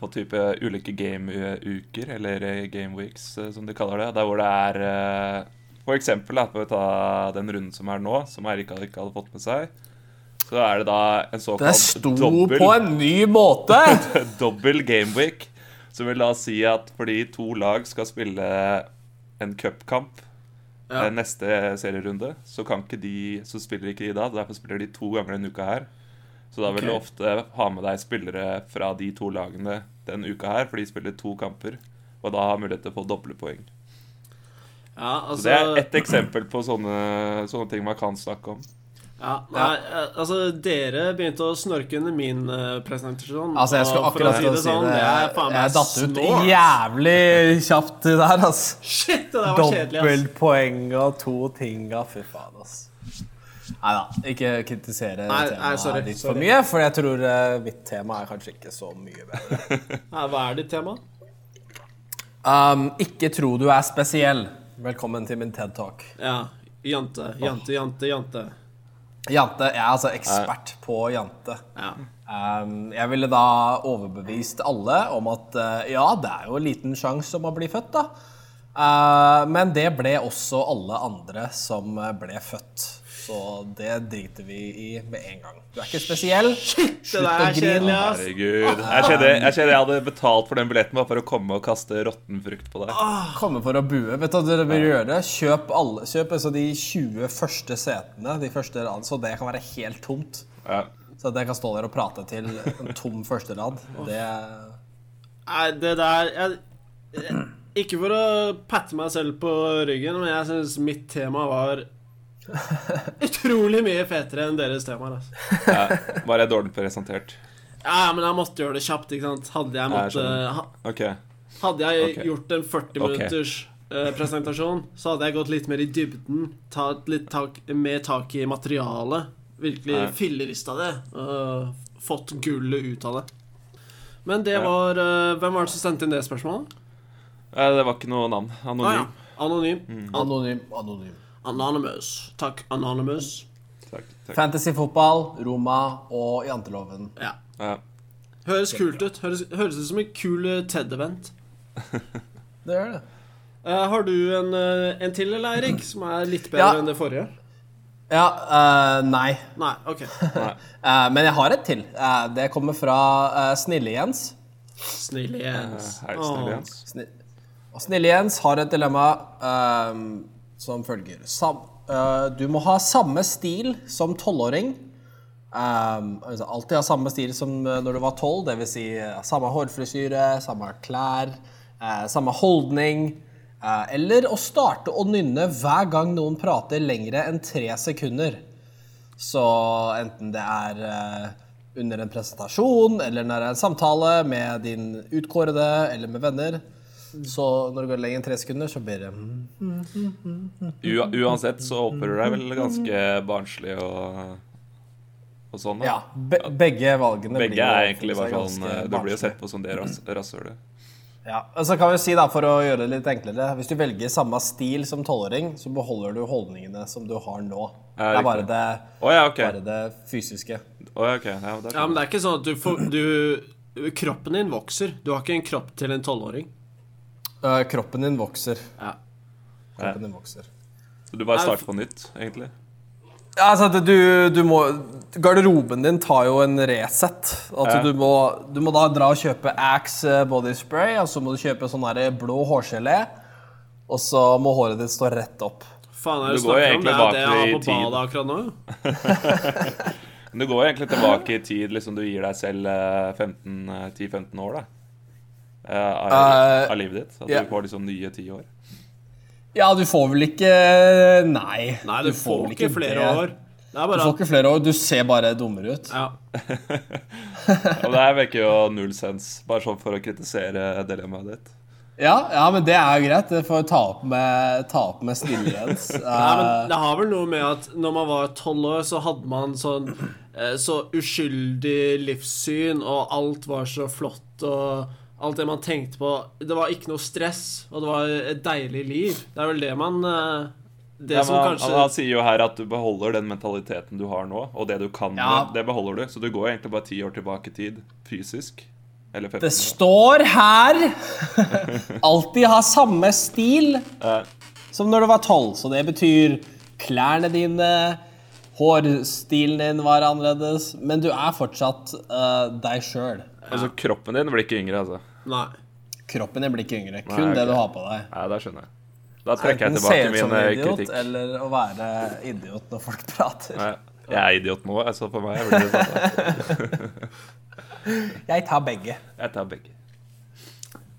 på type ulike gameuker, eller eh, game weeks, eh, som de kaller det. Der hvor det er eh, For eksempel, da, for å ta den runden som er nå, som Eirik ikke hadde fått med seg, så er det da en Det såkalt sto dobbel, på en ny måte! dobbel game week. Som vil da si at fordi to lag skal spille en cupkamp Ja. eh, neste serierunde, så kan ikke de Så spiller ikke de da. Derfor spiller de to ganger denne uka her. Så da vil du Ok. ofte ha med deg spillere fra de to lagene den uka her, for de spiller to kamper. Og da har mulighet til å få doble poeng. Ja, altså, Så det er ett eksempel på sånne, sånne ting man kan snakke om. Ja, nei, eh, altså Dere begynte å snorke under min eh, presentasjon. Altså, jeg skulle og for å akkurat til å si sånn, det. det er faen meg Jeg datt ut snålt. jævlig kjapt der, altså. Shit, det der var kjedelig, ass. Dobbeltpoeng og to tinga. Fy faen, ass. Nei da, ikke kritisere Nei, temaet nei, sorry, ditt sorry. for mye, for jeg tror eh, mitt tema er kanskje ikke så mye bedre. Nei, hva er ditt tema? Um, ikke tro du er spesiell. Velkommen til min TED Talk. Ja, jante, jante, jante, jante. Jante, Jeg er altså ekspert på jante. Ja. Um, jeg ville da overbevist alle om at eh, ja, det er jo en liten sjanse om å bli født, da. Eh, men det ble også alle andre som eh, ble født. Så det driter vi i med en gang. Du er ikke spesiell. Det der er kjedelig, ass. Herregud. Jeg kjenner jeg, kjenner jeg hadde betalt for den billetten bare for å komme og kaste råtten frukt på deg. Ah. Komme for å bue. Vet du hva dere bør gjøre? Kjøp, alle, kjøp altså de 20 første setene, de første rad, så det kan være helt tomt. Ja. Så at jeg kan stå der og prate til en tom første rad. Det Nei, det der jeg, jeg, Ikke for å patte meg selv på ryggen, men jeg syns mitt tema var utrolig mye fetere enn deres temaer, altså. Ja. Bare dårlig presentert. Ja, men jeg måtte gjøre det kjapt, ikke sant. Hadde jeg Ja, jeg måttet ha- OK. Hadde jeg Ok. gjort en 40 Ok. minutters eh, presentasjon, så hadde jeg gått litt mer i dybden. Tatt litt tak, mer tak i materialet. Virkelig Ja. fillerista det. og fått gullet ut av det. Men det Ja. var eh, Hvem var det som sendte inn det spørsmålet? Eh, Det var ikke noe navn. Ah, Anonym. Mm. ja. Anonym. Anonym. anonym. Anonymous. Takk, Anonymous. Takk, takk. Fantasyfotball, Roma og janteloven. Ja. Ja. Høres kult ut. Høres, høres ut som en kul eh, TED-event. Det gjør det. Eh, har du en, eh, en til, eller, Eirik, som er litt bedre Ja. enn det forrige? Ja, eh, nei. Nei, OK. Nei. Eh, men jeg har et til. Eh, det kommer fra eh, Snille-Jens. Snill Jens. Eh, Hei, Åh. Snille Jens. Sni og Snille-Jens har et dilemma ehm, som følger. Sam eh, du må ha samme stil som tolvåring. Um, altså alltid ha samme stil som eh, når du var tolv. Dvs. Si, eh, samme hårfrisyre, samme klær, eh, samme holdning. eh, eller å starte å nynne hver gang noen prater lengre enn tre sekunder. Så enten det er eh, under en presentasjon, eller når det er en samtale med din utkårede, eller med venner. Så når det går lenger enn tre sekunder, så blir det mm. U uansett så oppfører du deg vel ganske barnslig og, og sånn. da. Ja, be begge valgene Begge jo- er egentlig bare ganske sånn eh, Du blir barnslig. jo sett på som det rass- rasshølet. Ja, og så kan vi si da, for å gjøre det litt enklere, hvis du velger samme stil som tolvåring, så beholder du holdningene som du har nå. Det Ja, er bare riktig. det, Å ja, OK. bare det fysiske. Å, ja, ok. Ja, men Ja, men det er sånn. det er ikke sånn at du får du, Kroppen din vokser. Du har ikke en kropp til en tolvåring. Øh, kroppen din vokser. Ja. Kroppen din vokser. Så du bare starter på nytt, egentlig? Ja, altså, at du, du må Garderoben din tar jo en reset. Altså, Ja. du, må, du må da dra og kjøpe Axe eh, body spray, og så må du kjøpe sånn der blå hårgelé, og så må håret ditt stå rett opp. Faen, er det Du du går jo snakker om? Det egentlig er jo det jeg har på bak i tiden. badet akkurat nå. jo. Men du går jo egentlig tilbake i tid, liksom du gir deg selv eh, 15, eh, 10-15 år, da. Eh, Av, Eh, av livet ditt. At ja. du får liksom nye ti år. Ja, du får vel ikke Nei. Nei, du, får vel ikke flere det. år. Det er Du bare får at ikke flere år. Du ser bare dummere ut. ja. Ja, men det her virker jo null sens, bare sånn for å kritisere dilemmaet ditt. Ja, ja men det er jo greit. Det får jeg ta opp med, ta opp med Snille Jens. Nei, Eh, men Det har vel noe med at når man var tolv år, så hadde man sånn eh, så uskyldig livssyn, og alt var så flott, og alt det man tenkte på Det var ikke noe stress, og det var et deilig liv. Det er vel det man eh, Det Ja, men som han, kanskje han, han sier jo her at du beholder den mentaliteten du har nå, og det du kan nå, Ja. det beholder du. Så du går jo egentlig bare ti år tilbake i tid, fysisk. Eller 15 Det år. står her Alltid ha samme stil Eh, som når du var tolv. Så det betyr klærne dine, hårstilen din var annerledes, men du er fortsatt eh, deg sjøl. altså, kroppen din blir ikke yngre, altså. Nei. Kroppen din blir ikke yngre. Kun Nei, det ok. du har på deg. Nei, da skjønner jeg. Da trekker jeg Enten se tilbake ut som min en eh, idiot, kritikk. eller å være idiot når folk prater. Nei, jeg er idiot nå, altså for meg blir det sånn. da. Jeg tar begge. Jeg tar begge.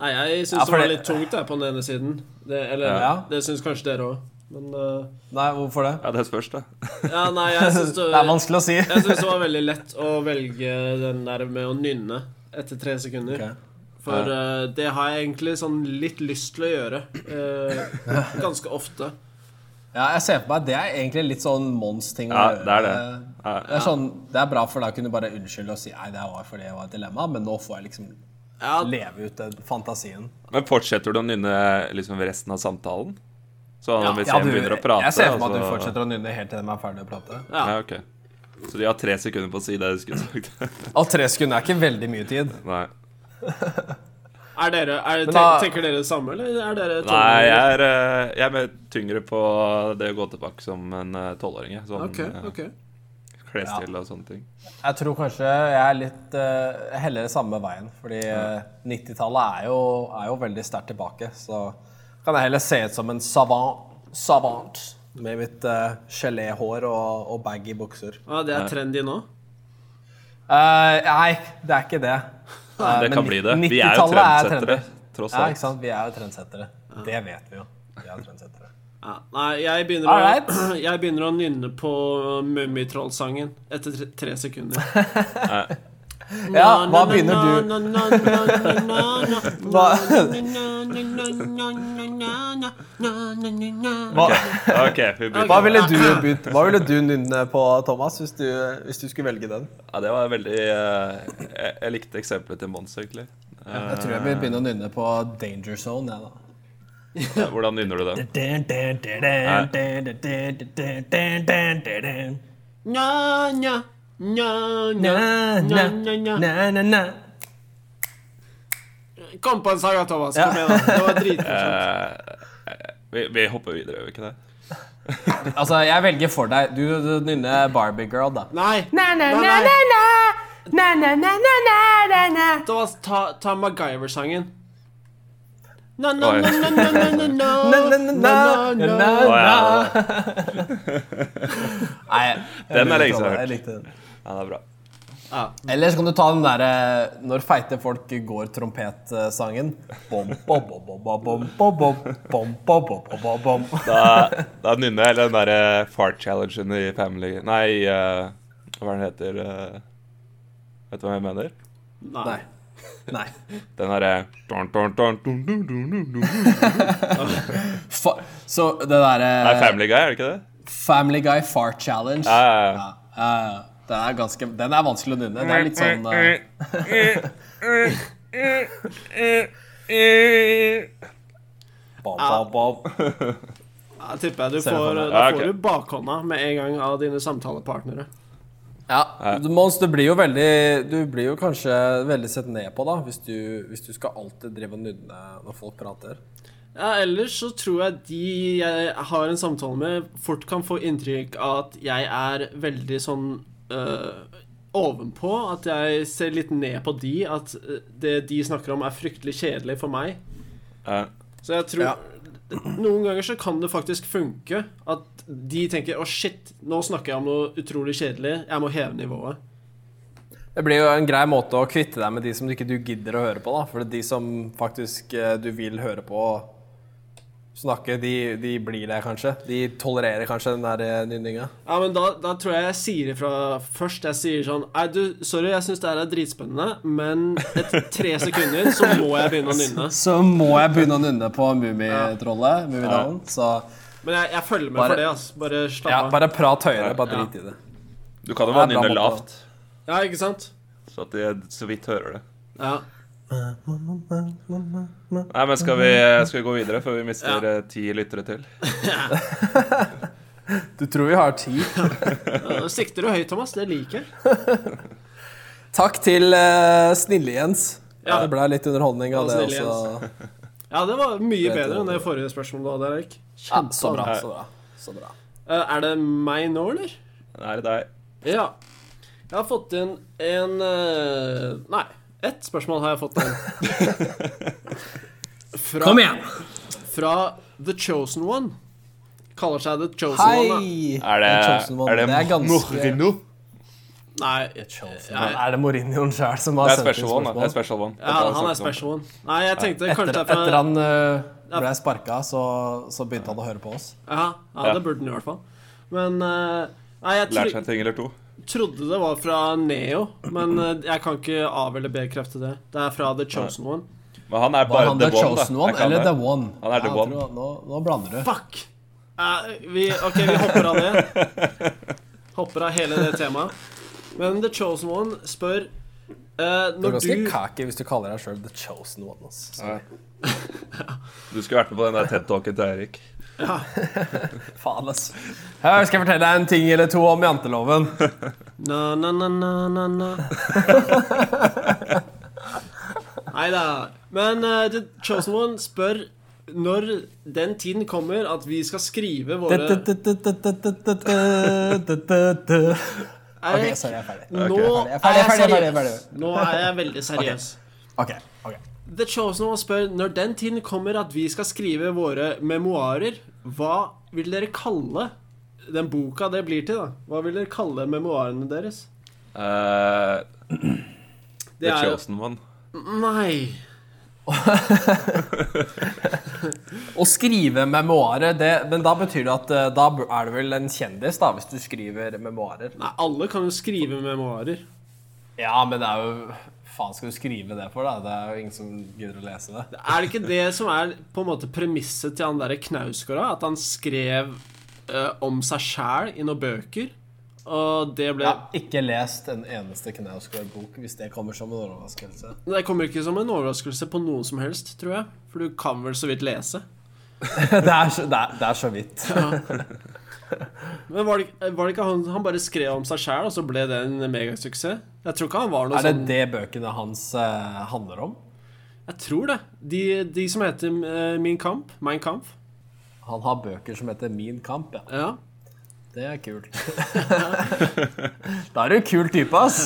Nei, jeg syns Ja, det for var det- litt tungt der på den ene siden. Det, eller Ja. det syns kanskje dere òg. Men eh, Nei, hvorfor det? Ja, det spørs, da. Ja, nei, jeg syns Det er vanskelig å si. Jeg syns det var veldig lett å velge den der med å nynne etter tre sekunder. Ok. For eh, det har jeg egentlig sånn litt lyst til å gjøre. eh, ganske ofte. Ja, jeg ser på meg, Det er egentlig litt sånn Mons-ting å Ja, gjøre. det er det. Eh, Ja. Det er, sånn, det er bra, for da kunne du bare unnskylde og si Nei, det var fordi det var et dilemma, men nå får jeg liksom Ja, leve ut den fantasien. Men fortsetter du å nynne liksom resten av samtalen? Så Ja. hvis Ja, en du- begynner å prate jeg ser for meg at altså- du fortsetter å nynne helt til de er ferdig å prate. ja. ok. Så de har tre sekunder på å si det de skulle sagt. Og tre sekunder er ikke veldig mye tid. Nei. er dere, er, Men da- ten- Tenker dere det samme, eller er dere Nei, jeg tolvåringer? er, eh, jeg er mer tyngre på det å gå tilbake som en eh, tolvåring. jeg. Sånn Ok, eh, ok. klesstil og sånne ting. Jeg tror kanskje jeg er litt eh, heller samme veien, fordi eh, 90-tallet er, jo- er jo veldig sterkt tilbake. Så kan jeg heller se ut som en savant, savant med mitt eh, geléhår og, og baggy bukser. Ja, det er trendy nå? Eh, nei, det er ikke det. Eh, Det men kan ni- bli det. Vi er jo 90-tallet er trendsettere, trendy. tross Ja, ikke alt. sant? Vi er jo trendsettere. Det vet vi jo. Vi er jo trendsettere. Ja. Nei, jeg begynner, Alright. å, jeg begynner å nynne på Mummitroll-sangen etter tre, tre sekunder. Ja, hva begynner du? du? Hva, hva, OK, vi begynner. hva ville du begynt Hva ville du nynne på, Thomas, hvis du, hvis du skulle velge den? Ja, det var veldig eh, jeg, jeg likte eksempelet til Mons, egentlig. Eh, Jeg tror jeg vil begynne å nynne på Danger Zone, jeg, da. Ja, Hvordan nynner du den? Kom på en saga, Thomas. Kom igjen, da. Det var dritmorsomt. Eh, vi, vi hopper videre, gjør vi ikke det? Altså, jeg velger for deg. Du, du nynner Barbie Girl, da. Nei. Nei, nei, Thomas, ta, ta MacGyver-sangen. Na, na, Oi. na, na, na, na, na, na, na, na, na. Å, ja, Nei, Den er lenge siden jeg har hørt. jeg likte den. ja, det er bra. Eller så kan du ta den derre Når feite folk går trompet-sangen. Bom, bom, bom, bom, bom, bom, bom, bom, bom, bom, bom, bom, bom, bom. Da, da nynner jeg den derre fart-challengen i Family Nei, eh, hva er den heter? eh, vet du hva jeg mener? Nei. Nei. Nei. Den derre dun, dun, dun, dun, dun, dun, dun, dun. Fa så det derre Nei, Family Guy, er det ikke det? Family Guy Fart Challenge. Ja, ja, ja. Ja, ja, ja. den er ganske Den er vanskelig å nynne. Det er litt sånn eh, eh, eh. bom, bom, bom. Jeg tipper jeg du Ser jeg for får, meg. da Ja, ok. får du bakhånda med en gang av dine samtalepartnere. Ja, du- Mons, du blir jo veldig Du blir jo kanskje veldig sett ned på, da, hvis du, hvis du skal alltid drive og nynne når folk prater. Ja, ellers så tror jeg de jeg har en samtale med, fort kan få inntrykk av at jeg er veldig sånn øh, ovenpå. At jeg ser litt ned på de, at øh, det de snakker om, er fryktelig kjedelig for meg. Ja. Så jeg tror Noen ganger så kan det faktisk funke at de tenker 'Å, shit, nå snakker jeg om noe utrolig kjedelig. Jeg må heve nivået'. Det blir jo en grei måte å kvitte deg med de som du ikke du gidder å høre på, da. For de som faktisk eh, du vil høre på snakke, de, de blir det kanskje. De tolererer kanskje den der eh, nynninga. Ja, men da, da tror jeg jeg sier ifra først. Jeg sier sånn Nei, du, sorry, jeg syns det her er dritspennende, men etter tre sekunder så må jeg begynne å nynne. Så må jeg begynne å nynne på Mummitrollet, Mummidalen. Så Men jeg, jeg følger med Bare- for det, altså. Bare slapp ja, av. bare prat høyere, bare drit i det. Du kan jo Ja, bare bra måte. nynne lavt, Ja, ikke sant? så at de så vidt hører det. Ja. Nei, men skal vi, skal vi gå videre før vi mister eh, ti lyttere til? Du tror vi har tid? Ja, Sikter du høyt, Thomas? Det liker jeg. Takk til eh, Snille-Jens. Ja. Det ble litt underholdning av Ja, det Snille også. Ja, det var mye Vet du bedre enn det. det forrige spørsmålet du hadde, Erik. Ja, så bra, Ja. så bra. Så bra. Eh, Er det meg nå, eller? Nei, det er deg. Ja. Jeg har fått inn en eh, Nei, ett spørsmål har jeg fått inn. Fra, Kom igjen! Fra The Chosen One. Kaller seg The Chosen One. Hei! Er det, Johnson One. er det, er ganske Mourinho? da. Nei, Men er det Mourinhoen sjøl som Det har er sendt inn special one, da. Det er spørsmål? special one. ja, han er special one. Nei, jeg tenkte Etter, kanskje det etter er fra han øh, ble sparka, så, så begynte han å høre på oss. ja, ja, det burde han i hvert fall. Men eh, Nei, jeg Lært seg tro, en ting eller to. trodde det var fra Neo, men eh, jeg kan ikke av- eller bekrefte det. Det er fra The Chosen One. Men han er Var bare han the The one, da. Chosen One Er ikke han eller det? The One? Han er The jeg One. tror- Nå, nå blander du. Fuck! Eh, vi, ok, vi hopper av det. Hopper av hele det temaet. Men The Chosen One spør eh, Du er når ganske du cocky hvis du kaller deg sjøl The Chosen One. ass. Så, Du skulle vært med på den der TED-talken til Eirik. faen, ass. Her skal jeg fortelle deg en ting eller to om janteloven. Na, na, na, na, na, na. Nei da. Men eh, The Chosen One spør når den tiden kommer at vi skal skrive våre OK, Eirik, sorry, jeg er ferdig. nå Jeg er er ferdig, jeg ferdig, ferdig, seriøs. ferdig. Nå er jeg veldig seriøs. Ok, ok. The Chosen One spør når den tiden kommer at vi skal skrive våre memoarer, hva vil dere kalle den boka det blir til, da? Hva vil dere kalle memoarene deres? Eh, Det the er jo Chosen One. Nei. Å skrive memoarer, det, men da betyr det at eh, da er du vel en kjendis, da, hvis du skriver memoarer. Nei, alle kan jo skrive memoarer. Ja, men det er jo Faen skal du skrive det for, da? Det er jo ingen som gidder å lese det. Er det ikke det som er på en måte premisset til han derre Knausgård? da? At han skrev eh, om seg sjæl i noen bøker? Og det ble Jeg har ikke lest en eneste Knausgård-bok, hvis det kommer som en overraskelse. Det kommer ikke som en overraskelse på noen som helst, tror jeg. For du kan vel så vidt lese. det, er så, det, er, det er så vidt. Men var det, var det ikke han Han bare skrev om seg sjæl, og så ble det en megasuksess? Jeg tror ikke han var noe Er det sånn det bøkene hans eh, handler om? Jeg tror det. De, de som heter eh, Min kamp, Mein Kampf. Han har bøker som heter Min kamp, ja. Ja. Det er kult. da er du en kul type, ass.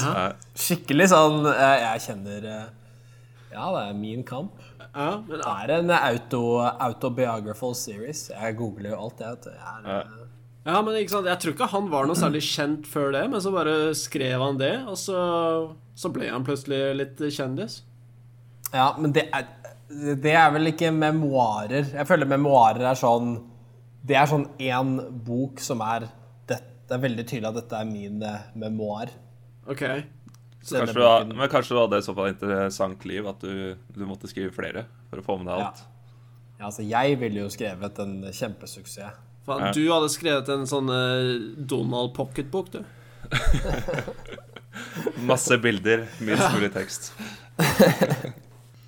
Skikkelig sånn eh, Jeg kjenner eh, Ja, det er Min kamp. ja men Det er en auto, autobiographical series. Jeg googler jo alt, jeg. vet du. Jeg er, eh, Ja, men ikke sant? Jeg tror ikke han var noe særlig kjent før det, men så bare skrev han det, og så, så ble han plutselig litt kjendis. Ja, men det er, det er vel ikke memoarer. Jeg føler memoarer er sånn Det er sånn én bok som er det, det er veldig tydelig at dette er min eh, memoar. Ok. Denne Kanskje du, ha- boken- men kanskje du hadde et såpass interessant liv at du, du måtte skrive flere for å få med deg ja. alt. ja, altså, jeg ville jo skrevet en kjempesuksess. Faen, du hadde skrevet en sånn eh, Donald Pocket-bok, du. Masse bilder, minst mulig tekst.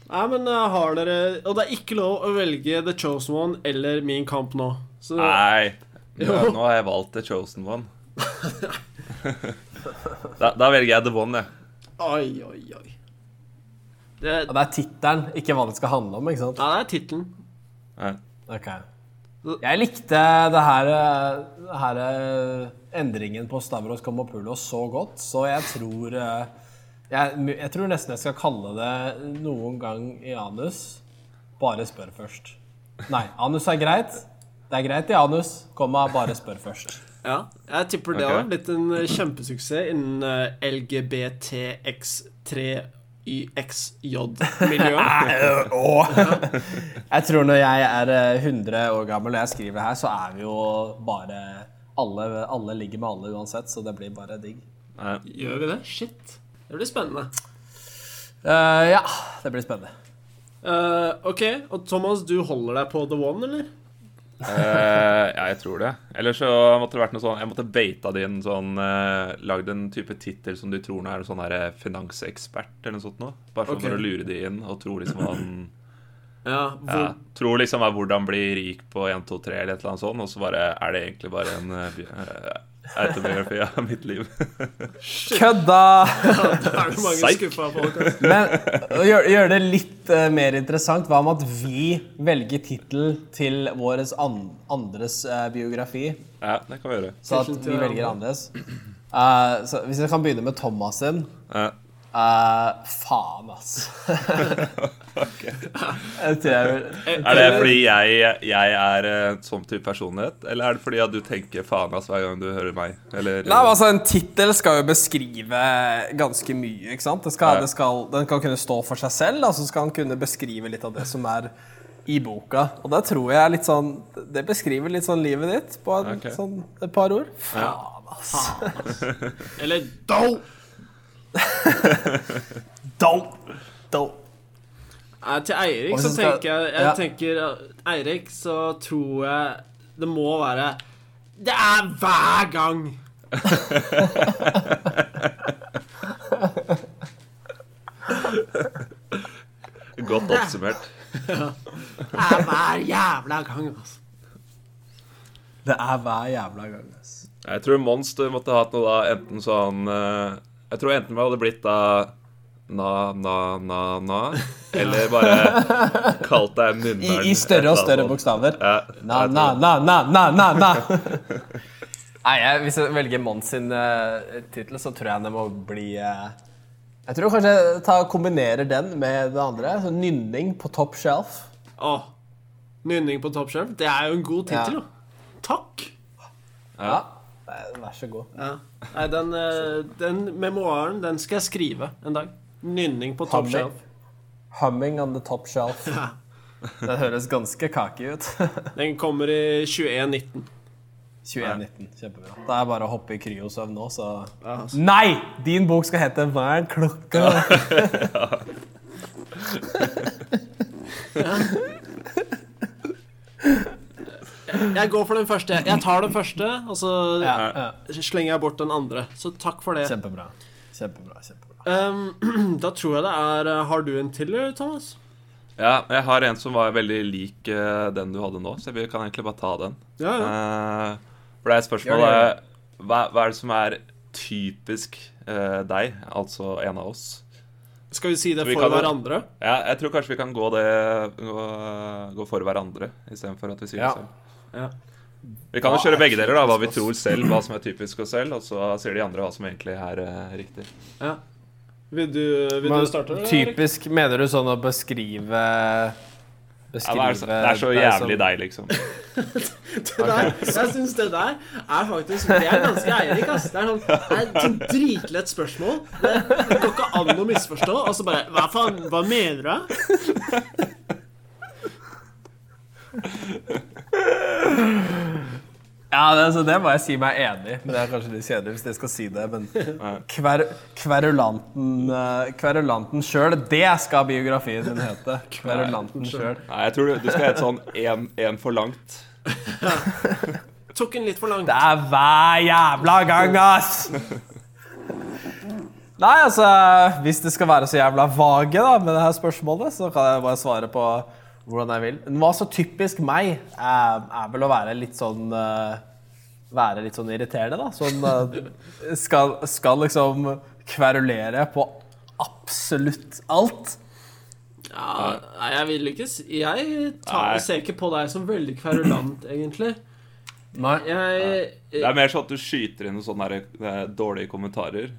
Nei, men eh, har dere Og det er ikke lov å velge The Chosen One eller Min kamp nå. Så Nei, nå, Jo. nå har jeg valgt The Chosen One. da, da velger jeg The One, jeg. Oi, oi, oi. Det, Og det er tittelen, ikke hva det skal handle om. ikke sant? ja, det er tittelen. Nei. Ok. Jeg likte det her, eh, det her eh, endringen på Stavros Komopoulos så godt, så jeg tror eh, jeg, jeg tror nesten jeg skal kalle det noen gang i anus. Bare spør først. Nei, anus er greit. Det er greit i anus, komma, bare spør først. Ja, jeg tipper det Ok. har blitt en eh, kjempesuksess innen eh, LGBTX3YXJ-miljøet. Jeg tror når jeg er eh, 100 år gammel og jeg skriver her, så er vi jo bare alle, alle ligger med alle uansett, så det blir bare digg. Nei. Gjør vi det? Shit. Det blir spennende. Eh, ja, det blir spennende. Eh, ok, og Thomas, du holder deg på The One, eller? Eh, ja, jeg tror det. Eller så måtte det vært noe sånn Jeg måtte beita din sånn uh, Lagd en type tittel som du tror nå er en sånn her eh, finansekspert eller noe sånt noe. Bare for, Ok. for å lure de inn og tro liksom han Ja, hvor, ja, Tror liksom er hvordan bli rik på 1, 2, 3 eller et eller annet sånt, og så bare er det egentlig bare en eh, bi- eh, autobiografi av mitt liv. da Kødda! er det mange Psych. skuffa folk. altså. ass. Men å gjøre gjør det litt eh, mer interessant, hva med at vi velger tittel til vår an andres eh, biografi? ja, det kan vi gjøre. Så at Tittelen til vi hverandre. velger andres. Eh, så hvis jeg kan begynne med Thomas sin. Ja. Eh, faen, ass. Jeg tror jeg vil Er det fordi jeg, jeg er eh, sånn type personlighet, eller er det fordi at du tenker faen ass hver gang du hører meg? Eller, Nei, men altså En tittel skal jo beskrive ganske mye. ikke sant? Det skal, Ja. det skal, den kan kunne stå for seg selv, og så skal den kunne beskrive litt av det som er i boka. Og det tror jeg er litt sånn Det beskriver litt sånn livet ditt på en, Ok. sånn, et par ord. Faen, ass. Eller do! Dope! Dope. Nei, eh, til Eirik Og så så skal- tenker jeg, jeg ja. tenker, eh, Eirik, så tror jeg det må være Det er hver gang! eh, Godt oppsummert. Det er hver jævla gang, altså. Det er hver jævla gang. ass. Jeg tror Mons du måtte hatt noe da, enten sånn eh, Jeg tror enten det hadde blitt da na, na, na, na, eller bare kalt deg I, munneren. I større og større bokstaver. Na, na, na, na, na, na, na. Nei, jeg, Hvis jeg velger Mons sin uh, tittel, så tror jeg det må bli eh, Jeg tror kanskje jeg tar, kombinerer den med det andre. Så nynning på top shelf. Åh, nynning på Top Shelf, det er jo en god tittel, Ja. jo. Takk! Ja. Eh, Vær så god. Ja. Nei, den, eh, den memoaren, den skal jeg skrive en dag. Nynning på Top Hammer. Shelf. Humming on the top shelf. Det høres ganske kaki ut. Den kommer i 2119. 2119. Kjempebra. Det er bare å hoppe i kryosøvn nå, så altså. Nei! Din bok skal hete 'Hva er klokka?' Jeg går for den første. jeg. Jeg tar den første, og så ja. slenger jeg bort den andre. Så takk for det. Kjempebra. Kjempebra. kjempebra. Um, da tror jeg det er eh, Har du en til, eller, Thomas? Ja, jeg har en som var veldig lik eh, den du hadde nå, så vi kan egentlig bare ta den. Ja, ja. Eh, for det er et spørsmål Gjør det, eh, hva, hva er det som er typisk eh, deg, altså en av oss? Skal vi si det Så vi for kan jo- hverandre? Ja, jeg tror kanskje vi kan gå, det, gå, gå for hverandre istedenfor at vi sier Ja. det selv. Ja. Vi kan jo Hva kjøre er begge deler, da. Hva vi tror selv, hva som er typisk oss selv, og så sier de andre hva som egentlig er eh, riktig. ja. Vil du, vil du starte? eller, Erik? Typisk mener du sånn å beskrive Ja, Beskrive det, er så, det er så jævlig deg, liksom. Det der, jeg syns det der er faktisk Det er ganske Eirik, ass. Det er sånn, det er et sånn dritlett spørsmål. Det det går ikke an å misforstå. Og så bare Hva faen? Hva mener du? Ja, det, så det må jeg si meg enig i. Men Det er kanskje litt kjedelig hvis jeg skal si det, men kver, Kverulanten eh, Kverulanten sjøl, det skal biografien din hete. Kverulanten sjøl. Nei, jeg tror du, du skal hete sånn en, en for langt. Tok den litt for langt. Det er hver jævla gang, ass! Nei, altså Hvis det skal være så jævla vage da, med det her spørsmålet, så kan jeg bare svare på hvordan jeg vil. Men Hva så typisk meg er, er vel å være litt sånn eh, Være litt sånn irriterende, da. Sånn eh, skal, skal liksom kverulere på absolutt alt. Ja, nei, jeg vil ikke si Jeg tar, Nei. ser ikke på deg som veldig kverulant, egentlig. Nei. Jeg, Det er mer sånn at du skyter inn noen sånne der, eh, dårlige kommentarer.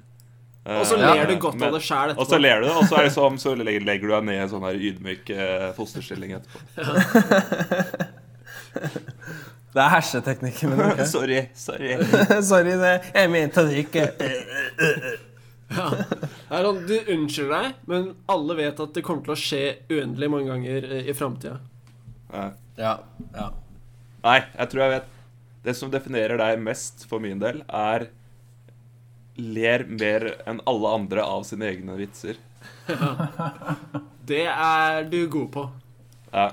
og så Eh, ler du godt men- av det sjæl Og så etterpå. ler du, og så, er det som, så legger, legger du deg ned i en sånn her ydmyk eh, fosterstilling etterpå. Det er herseteknikken min. ok? Sorry. sorry. Sorry, det, jeg mente det ikke. Det er sånn, du unnskylder deg, men alle vet at det kommer til å skje uendelig mange ganger eh, i framtida. Nei. Ja. ja. Nei, jeg tror jeg vet. Det som definerer deg mest, for min del, er ler mer enn alle andre av sine egne vitser. Det er du god på. Ja.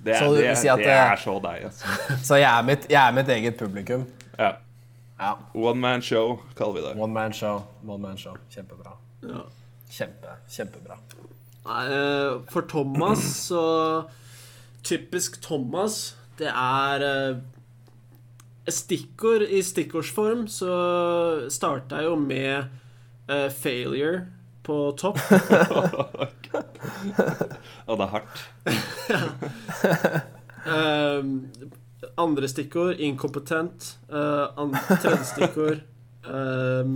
Det, er, Så du vil det, er- si at det det- er så deg, altså. Så jeg er mitt, jeg er mitt eget publikum. Ja. Ja. One man show, kaller vi det. One man show. One man show. Kjempebra. Ja. Kjempe, kjempebra. Nei, eh, for Thomas så Typisk Thomas, det er eh, Stikkord i stikkordsform så starta jeg jo med eh, failure på topp. Og det er hardt. Eh, andre stikkord inkompetent. Eh, an tredje stikkord eh,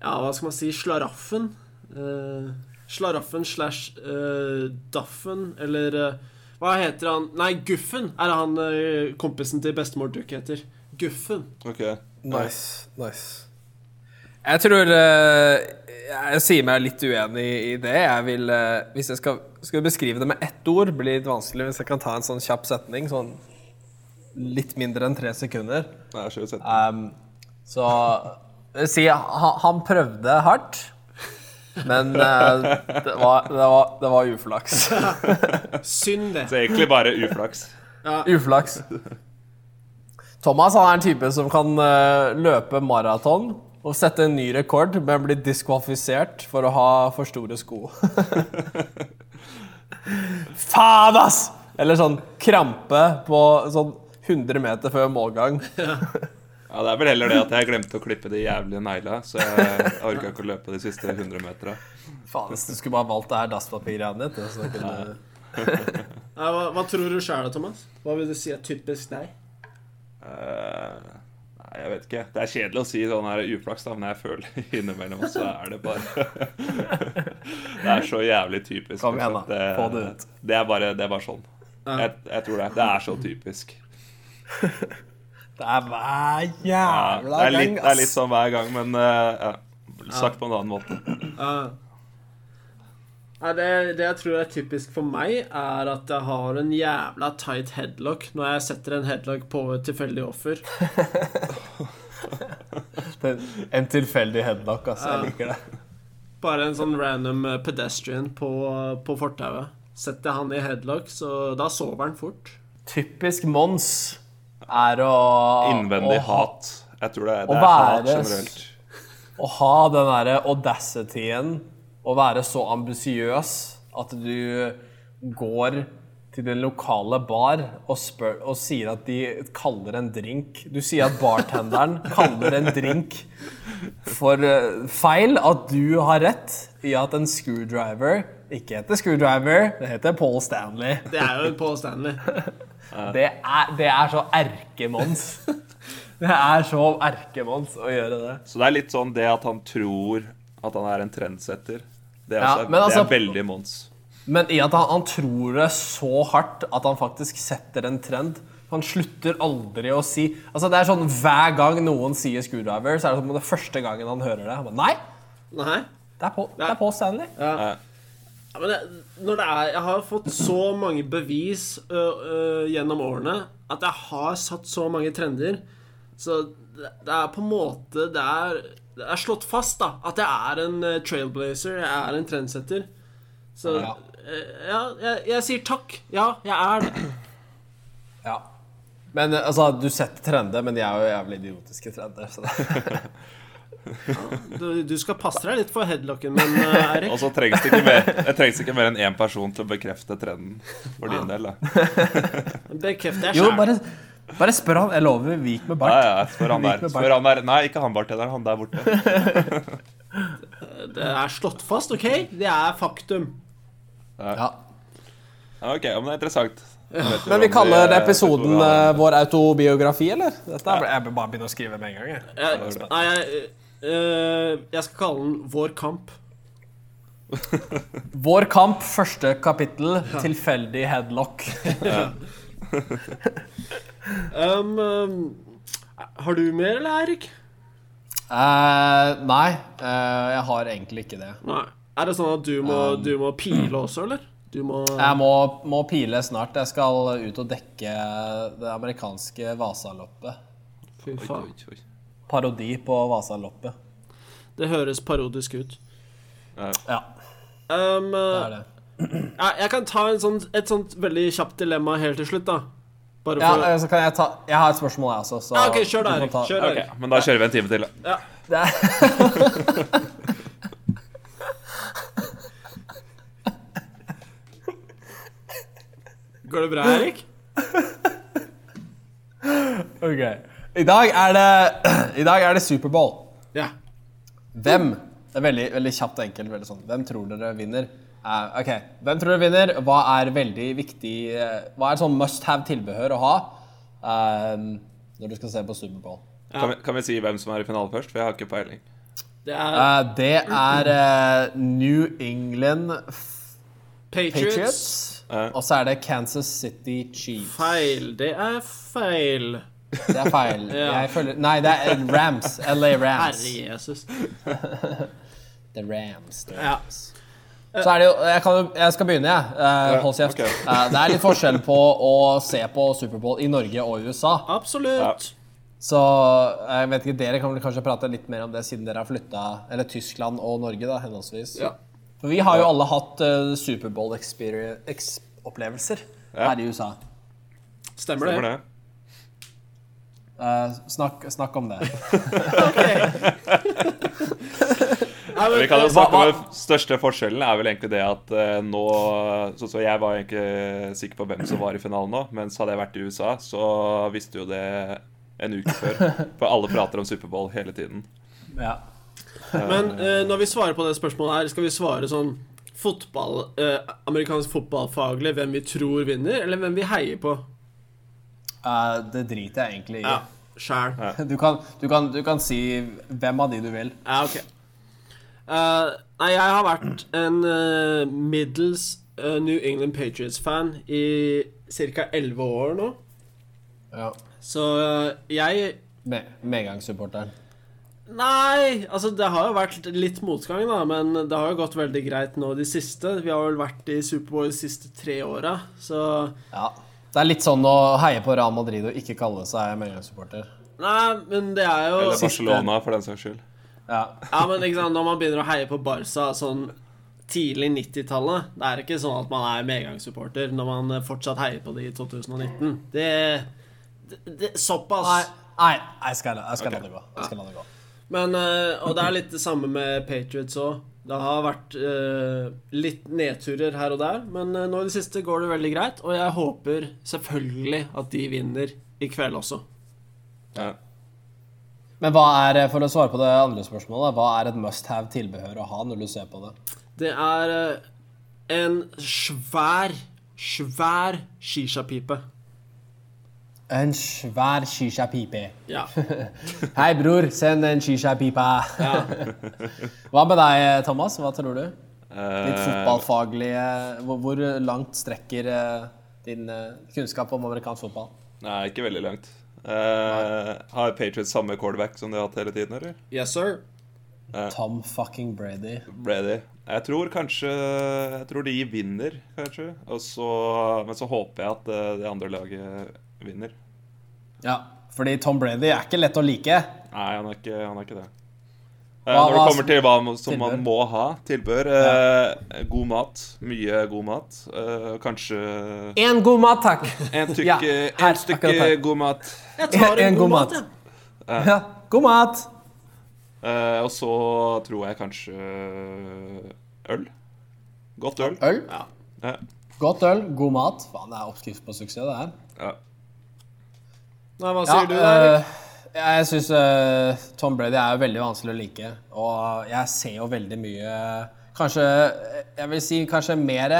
Ja, hva skal man si? Slaraffen. Eh, slaraffen slash eh, Daffen, eller eh, Hva heter han? Nei, Guffen er han eh, kompisen til bestemor Duck heter. Guffen. Ok. Nice. nice. Jeg tror eh, Jeg sier meg litt uenig i det. Jeg vil, eh, hvis jeg skal, skal beskrive det med ett ord, blir det litt vanskelig hvis jeg kan ta en sånn kjapp setning. Sånn litt mindre enn tre sekunder. Nei, jeg har ikke sett det. Ehm, så jeg vil si han, han prøvde hardt, men eh, det, var, det, var, det var uflaks. Synd, det. Så egentlig bare uflaks. Uflaks. Thomas han er en type som kan eh, løpe maraton og sette en ny rekord, men blir diskvalifisert for å ha for store sko. Faen, ass! Eller sånn krampe på sånn 100 meter før målgang. Ja, Det er vel heller det at jeg glemte å klippe de jævlige negla, så jeg orka ikke å løpe de siste 100 metera. Faen, hvis du skulle bare valgt det her dasspapiret ditt. altså, Så kunne... Nei, Eh, hva, hva tror du sjæl, Thomas? Hva vil du si er typisk deg? Eh, Nei, jeg vet ikke. Det er kjedelig å si sånn her uflaks, da, men jeg føler innimellom så er det bare Det er så jævlig typisk. Kom igjen da, liksom. Det- få det ut. Det er bare, det er bare sånn. Jeg, jeg tror det. Det er så typisk. Det er hver Ja, jævla det, gang, er litt, det er litt sånn hver gang, men eh, ja, sagt på en annen måte. Ja. Nei, det, det jeg tror er typisk for meg, er at jeg har en jævla tight headlock når jeg setter en headlock på et tilfeldig offer. sånn- Den, en tilfeldig headlock, altså. Jeg liker det. Bare en sånn random eh, pedestrian på, på fortauet. Setter han i headlock, så da sover han fort. Typisk Mons er å Innvendig å ha- hat. Jeg tror det er, å det er hat være- generelt. Å ha den derre audacityen, å være så ambisiøs at du går til den lokale bar og, spør, og sier at de kaller en drink Du sier at bartenderen kaller en drink for eh, feil, at du har rett i at en screwdriver ikke heter screwdriver, det heter Paul Stanley. Det er jo en Paul Stanley. Det er, det er så erkemons. Det er så erkemons å gjøre det. Så det er litt sånn det at han tror at han er en trendsetter. Det er, Ja, også, men altså- det er veldig Mons. Men i at han, han tror det så hardt at han faktisk setter en trend. Han slutter aldri å si Altså det er sånn Hver gang noen sier 'screwdriver', så er det som om det er første gangen han hører det. Han bare, Nei, Nei? det er på, det er på Stanley. Ja, men det, når det er, jeg har fått så mange bevis øh, øh, gjennom årene at jeg har satt så mange trender. Så det, det er på en måte det er, det er slått fast da at jeg er en øh, trailblazer, jeg er en trendsetter. Så øh, ja, jeg, jeg sier takk. Ja, jeg er det. Ja. Men eh, altså, du setter trender, men de er jo jævlig idiotiske trender. Så det. Du, du skal passe deg litt for headlocken min, øh, Eirik. Og så trengs det ikke mer, det trengs ikke mer enn én person til å bekrefte trenden for din del. Da. Bekreft deg Jo, sjæl. bare, bare spør han. Jeg lover, vik med Ja, bart. ja, spør han der. Spør han der. Nei, ikke han bartenderen, han der borte. Det er slått fast, OK? Det er faktum. Ja. Ja, ok, ja, men det er interessant. Men vi kaller episoden eh, vår autobiografi, eller? Dette er, jeg bør bare begynne å skrive med en gang. Jeg. Jeg, nei, jeg, øh, jeg skal kalle den Vår kamp. Vår kamp, første kapittel, tilfeldig headlock. Um, um, har du mer, eller, Eirik? Eh, nei, eh, jeg har egentlig ikke det. Nei. Er det sånn at du må, du må pile også, eller? Du må Jeg må, må pile snart. Jeg skal ut og dekke det amerikanske Vasaloppet. Fy faen. Parodi på Vasaloppet. Det høres parodisk ut. Ja, Um, det er det. jeg, jeg kan ta en sånn, et sånt veldig kjapt dilemma helt til slutt, da. Bare Ja, for eh, så kan jeg ta Jeg har et spørsmål, jeg også. Så Ja, OK, kjør da, du Eirik. kan ta- Kjør, Ok, Eirik. men da kjører vi en time til. da. Det er, Går det bra, Eirik? ok. I dag er det I dag er det Superbowl. Ja. Hvem Det er veldig, veldig kjapt og enkelt. Veldig sånn. Hvem tror dere vinner? Eh, ok, Hvem tror dere vinner? Hva er veldig viktig eh, Hva er sånn must have-tilbehør å ha eh, når du skal se på Superbowl? Kan vi, kan vi si hvem som er i finalen først? For jeg har ikke peiling. Det er Eh, det er eh, New England F- Patriots. Patriots. Og så er det Kansas City Chiefs. Feil. Det er feil. Det er feil. Ja. Jeg føler, nei, det er Rams. LA Herre Rams. Jesus. The Rams. The Ja. Så er det jo, jeg, kan, jo- jeg skal begynne, jeg. Eh, hold kjeft. ok. Eh, det er litt forskjell på å se på Superbowl i Norge og USA. Absolutt. Så eh, jeg vet ikke, dere kan vel kanskje prate litt mer om det siden dere har flytta Eller Tyskland og Norge, da, henholdsvis. Ja. For vi har jo alle hatt eh, Superbowl-opplevelser Ja. her i USA. Stemmer Stemmer det. det? Eh, snakk, snakk om det. Vi kan jo snakke om den største forskjellen er vel egentlig det at eh, nå så, så Jeg var egentlig sikker på hvem som var i finalen nå, mens hadde jeg vært i USA, så visste jo det en uke før. For alle prater om Superbowl hele tiden. Ja. Men eh, når vi svarer på det spørsmålet her, skal vi svare sånn fotball, eh, amerikansk fotballfaglig hvem vi tror vinner, eller hvem vi heier på? Eh, det driter jeg egentlig i. Ja, sjæl. Ja. Du, kan, du, kan, du kan si hvem av de du vil. ok. Eh, nei, jeg har vært en eh, middels eh, New England Patriots-fan i ca. 11 år nå. Ja. Så eh, jeg Me medgangssupporteren. Nei, altså det har jo vært litt motgang, da, men det har jo gått veldig greit nå de siste. Vi har vel vært i Superbowl de siste tre åra, så Ja. Det er litt sånn å heie på Real Madrid og ikke kalle seg medlemssupporter. Nei, men det er jo Eller Barcelona, for den saks skyld. Ja. Ja, men ikke sant, Når man begynner å heie på Barca sånn tidlig 90-tallet Det er ikke sånn at man er medgangssupporter når man eh, fortsatt heier på det i 2019. Det, det, det Såpass. Nei, nei, jeg skal, la- jeg skal la det gå. Jeg skal la det gå. Men, eh, og det er litt det samme med Patriots òg. Det har vært eh, litt nedturer her og der, men eh, nå i det siste går det veldig greit. Og jeg håper selvfølgelig at de vinner i kveld også. Ja. Men hva er, for å svare på det andre spørsmålet, hva er et must have tilbehør å ha når du ser på det? Det er eh, en svær, svær shisha-pipe. En svær shisha-pipe. Ja. Hei, bror, send en shisha-pipe. Hva med deg, Thomas? Hva tror du? Eh, Litt fotballfaglige Hvor, hvor langt strekker eh, din eh, kunnskap om amerikansk fotball? Nei, ikke veldig langt. Eh, har Patriots samme quarterback som de har hatt hele tiden, eller? Yes, sir. Tom fucking Brady. Brady. Jeg tror kanskje Jeg tror de vinner, kanskje. Og så, men så håper jeg at eh, det andre laget vinner. Ja, fordi Tom Brady er ikke lett å like. Nei, han er ikke, han er ikke det. Eh, Hva- Når det hva- kommer til hva må- som tilbør? man må ha, tilbør eh, God mat. Mye god mat. Eh, kanskje Én god mat, takk! en, tykke, Ja, her, en stykke akkurat her. god mat. Jeg tar en, En god god mat, mat. jeg. Ja, god mat! Eh, og så tror jeg kanskje eh, øl. Godt øl. Øl. Ja. Godt øl, god mat. Faen, det er oppskrift på suksess, det her. Ja. Nei, hva Ja, sier du, Erik? øh, jeg syns Tom Brady er jo veldig vanskelig å like. Og jeg ser jo veldig mye Kanskje Jeg vil si kanskje mer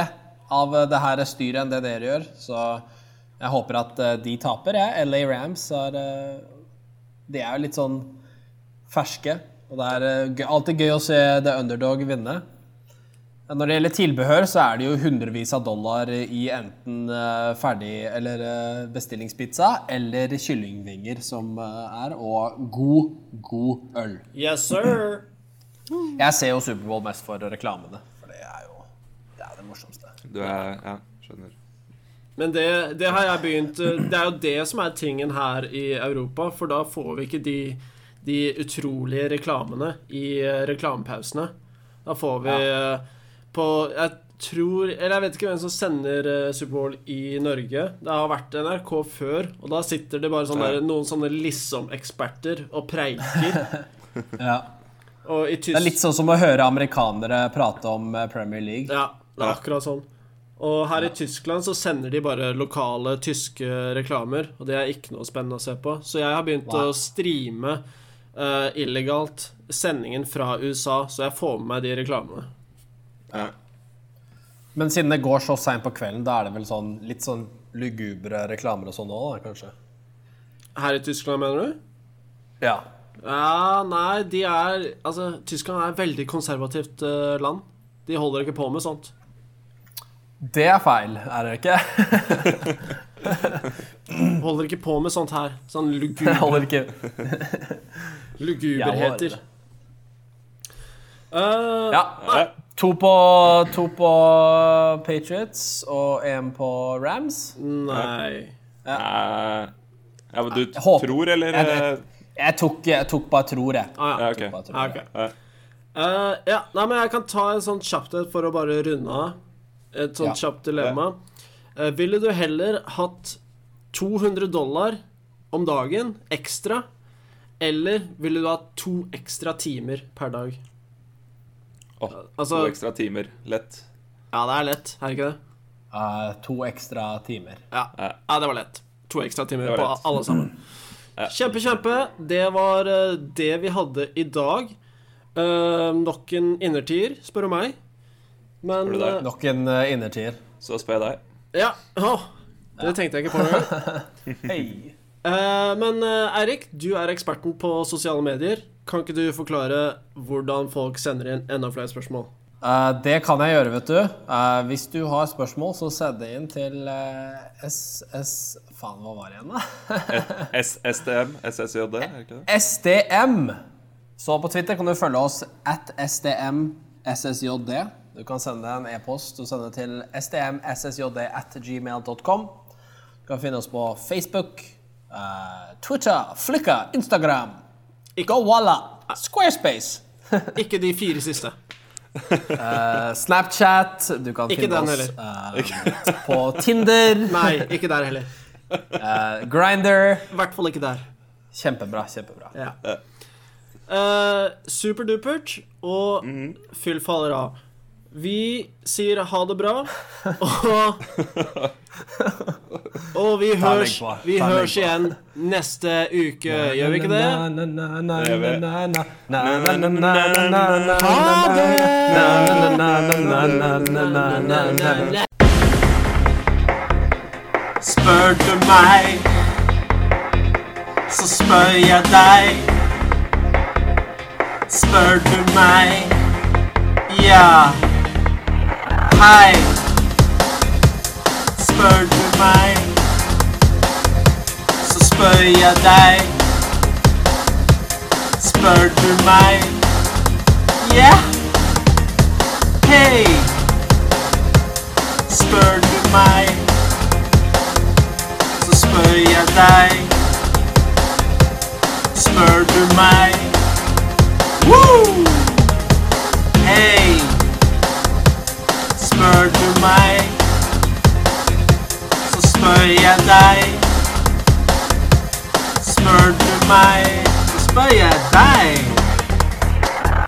av det her styret enn det dere gjør. Så jeg håper at øh, de taper, jeg. LA Rams er øh, De er jo litt sånn ferske. Og det er øh, gøy, alltid gøy å se the underdog vinne. Men Når det gjelder tilbehør, så er det jo hundrevis av dollar i enten eh, ferdig eller eh, bestillingspizza eller kyllingvinger som eh, er, og god, god øl. Yes, sir. Jeg ser jo Superbowl mest for reklamene, for det er jo det, er det morsomste. Du er Ja, skjønner. Men det, det har jeg begynt eh, Det er jo det som er tingen her i Europa, for da får vi ikke de, de utrolige reklamene i eh, reklamepausene. Da får vi eh, på Jeg tror Eller jeg vet ikke hvem som sender eh, Superbowl i Norge. Det har vært NRK før, og da sitter det bare sånne, der, noen sånne liksom-eksperter og preiker. Og i Det Tyskland er litt sånn som å høre amerikanere prate om eh, Premier League. Ja, det er akkurat sånn. Og her i Tyskland så sender de bare lokale tyske reklamer, og det er ikke noe spennende å se på. Så jeg har begynt Wow. å streame eh, illegalt sendingen fra USA, så jeg får med meg de reklamene. Men siden det går så seint på kvelden, da er det vel sånn litt sånn lugubre reklamer og sånn òg, da, kanskje? Her i Tyskland, mener du? Ja. Ja, nei, de er Altså, Tyskland er et veldig konservativt eh, land. De holder ikke på med sånt. Det er feil, er det ikke? Holder ikke på med sånt her. Sånn lugubre Holder ikke luguberheter. Eh, Ja. To på, to på Patriots og én på Rams. Nei. Nei Eh, ja, men du håper- tror, eller Jeg eh, vet. Jeg tok, jeg tok bare tror, jeg. Ah, ja. Ja, Tok bare OK. tror, Ja, jeg. ok. Eh, ja, nei, men jeg kan ta en sånn kjapt et for å bare runde av. Et sånt Ja. kjapt dilemma. Eh, ville du heller hatt 200 dollar om dagen ekstra, eller ville du hatt to ekstra timer per dag? Åh, Altså to ekstra timer. Lett. Ja, det er lett, er det ikke det? Eh, to ekstra timer. Ja. Ja. ja, det var lett. To ekstra timer Det var på lett. alle sammen. Kjempe, kjempe. Det var eh, det vi hadde i dag. Eh, nok en innertier, spør du meg. Men Spør du deg? eh, Nok en uh, innertier. Så spør jeg deg. Ja. Åh, det tenkte jeg ikke på engang. Eh, men eh, Eirik, du er eksperten på sosiale medier. Kan ikke du forklare hvordan folk sender inn enda flere spørsmål? Eh, det kan jeg gjøre, vet du. Eh, hvis du har spørsmål, så send det inn til eh, SS Faen, hva var det igjen, da? SSDM? SSJD? Er det ikke det? SDM Så på Twitter kan du følge oss at stmssjd. Du kan sende en e-post og sende til stmssjd at gmail.com. Du kan finne oss på Facebook, eh, Twitter, Flickr, Instagram, Gowalla, Squarespace. Ikke de fire siste. Eh, Snapchat. Du kan Ikke finne den oss eh, på Tinder, Nei, ikke der heller. eh, Grinder. I hvert fall ikke der. Kjempebra, kjempebra. Ja. Eh, Superdupert, og Mhm. fyll faller av. Vi sier ha det bra, og Og vi hørs, legg på. vi Ta en legg hørs igjen neste uke, gjør vi ikke det? Ha det! Spør du meg, så spør jeg deg. Spør du meg, ja. Hei. Spør du meg, så spør jeg deg. Spør du meg, ja. Hei. Spør du meg så spør jeg deg. Spør du meg? Woo! Hei! Spør du meg, så spør jeg deg. Spør du meg, så spør jeg deg.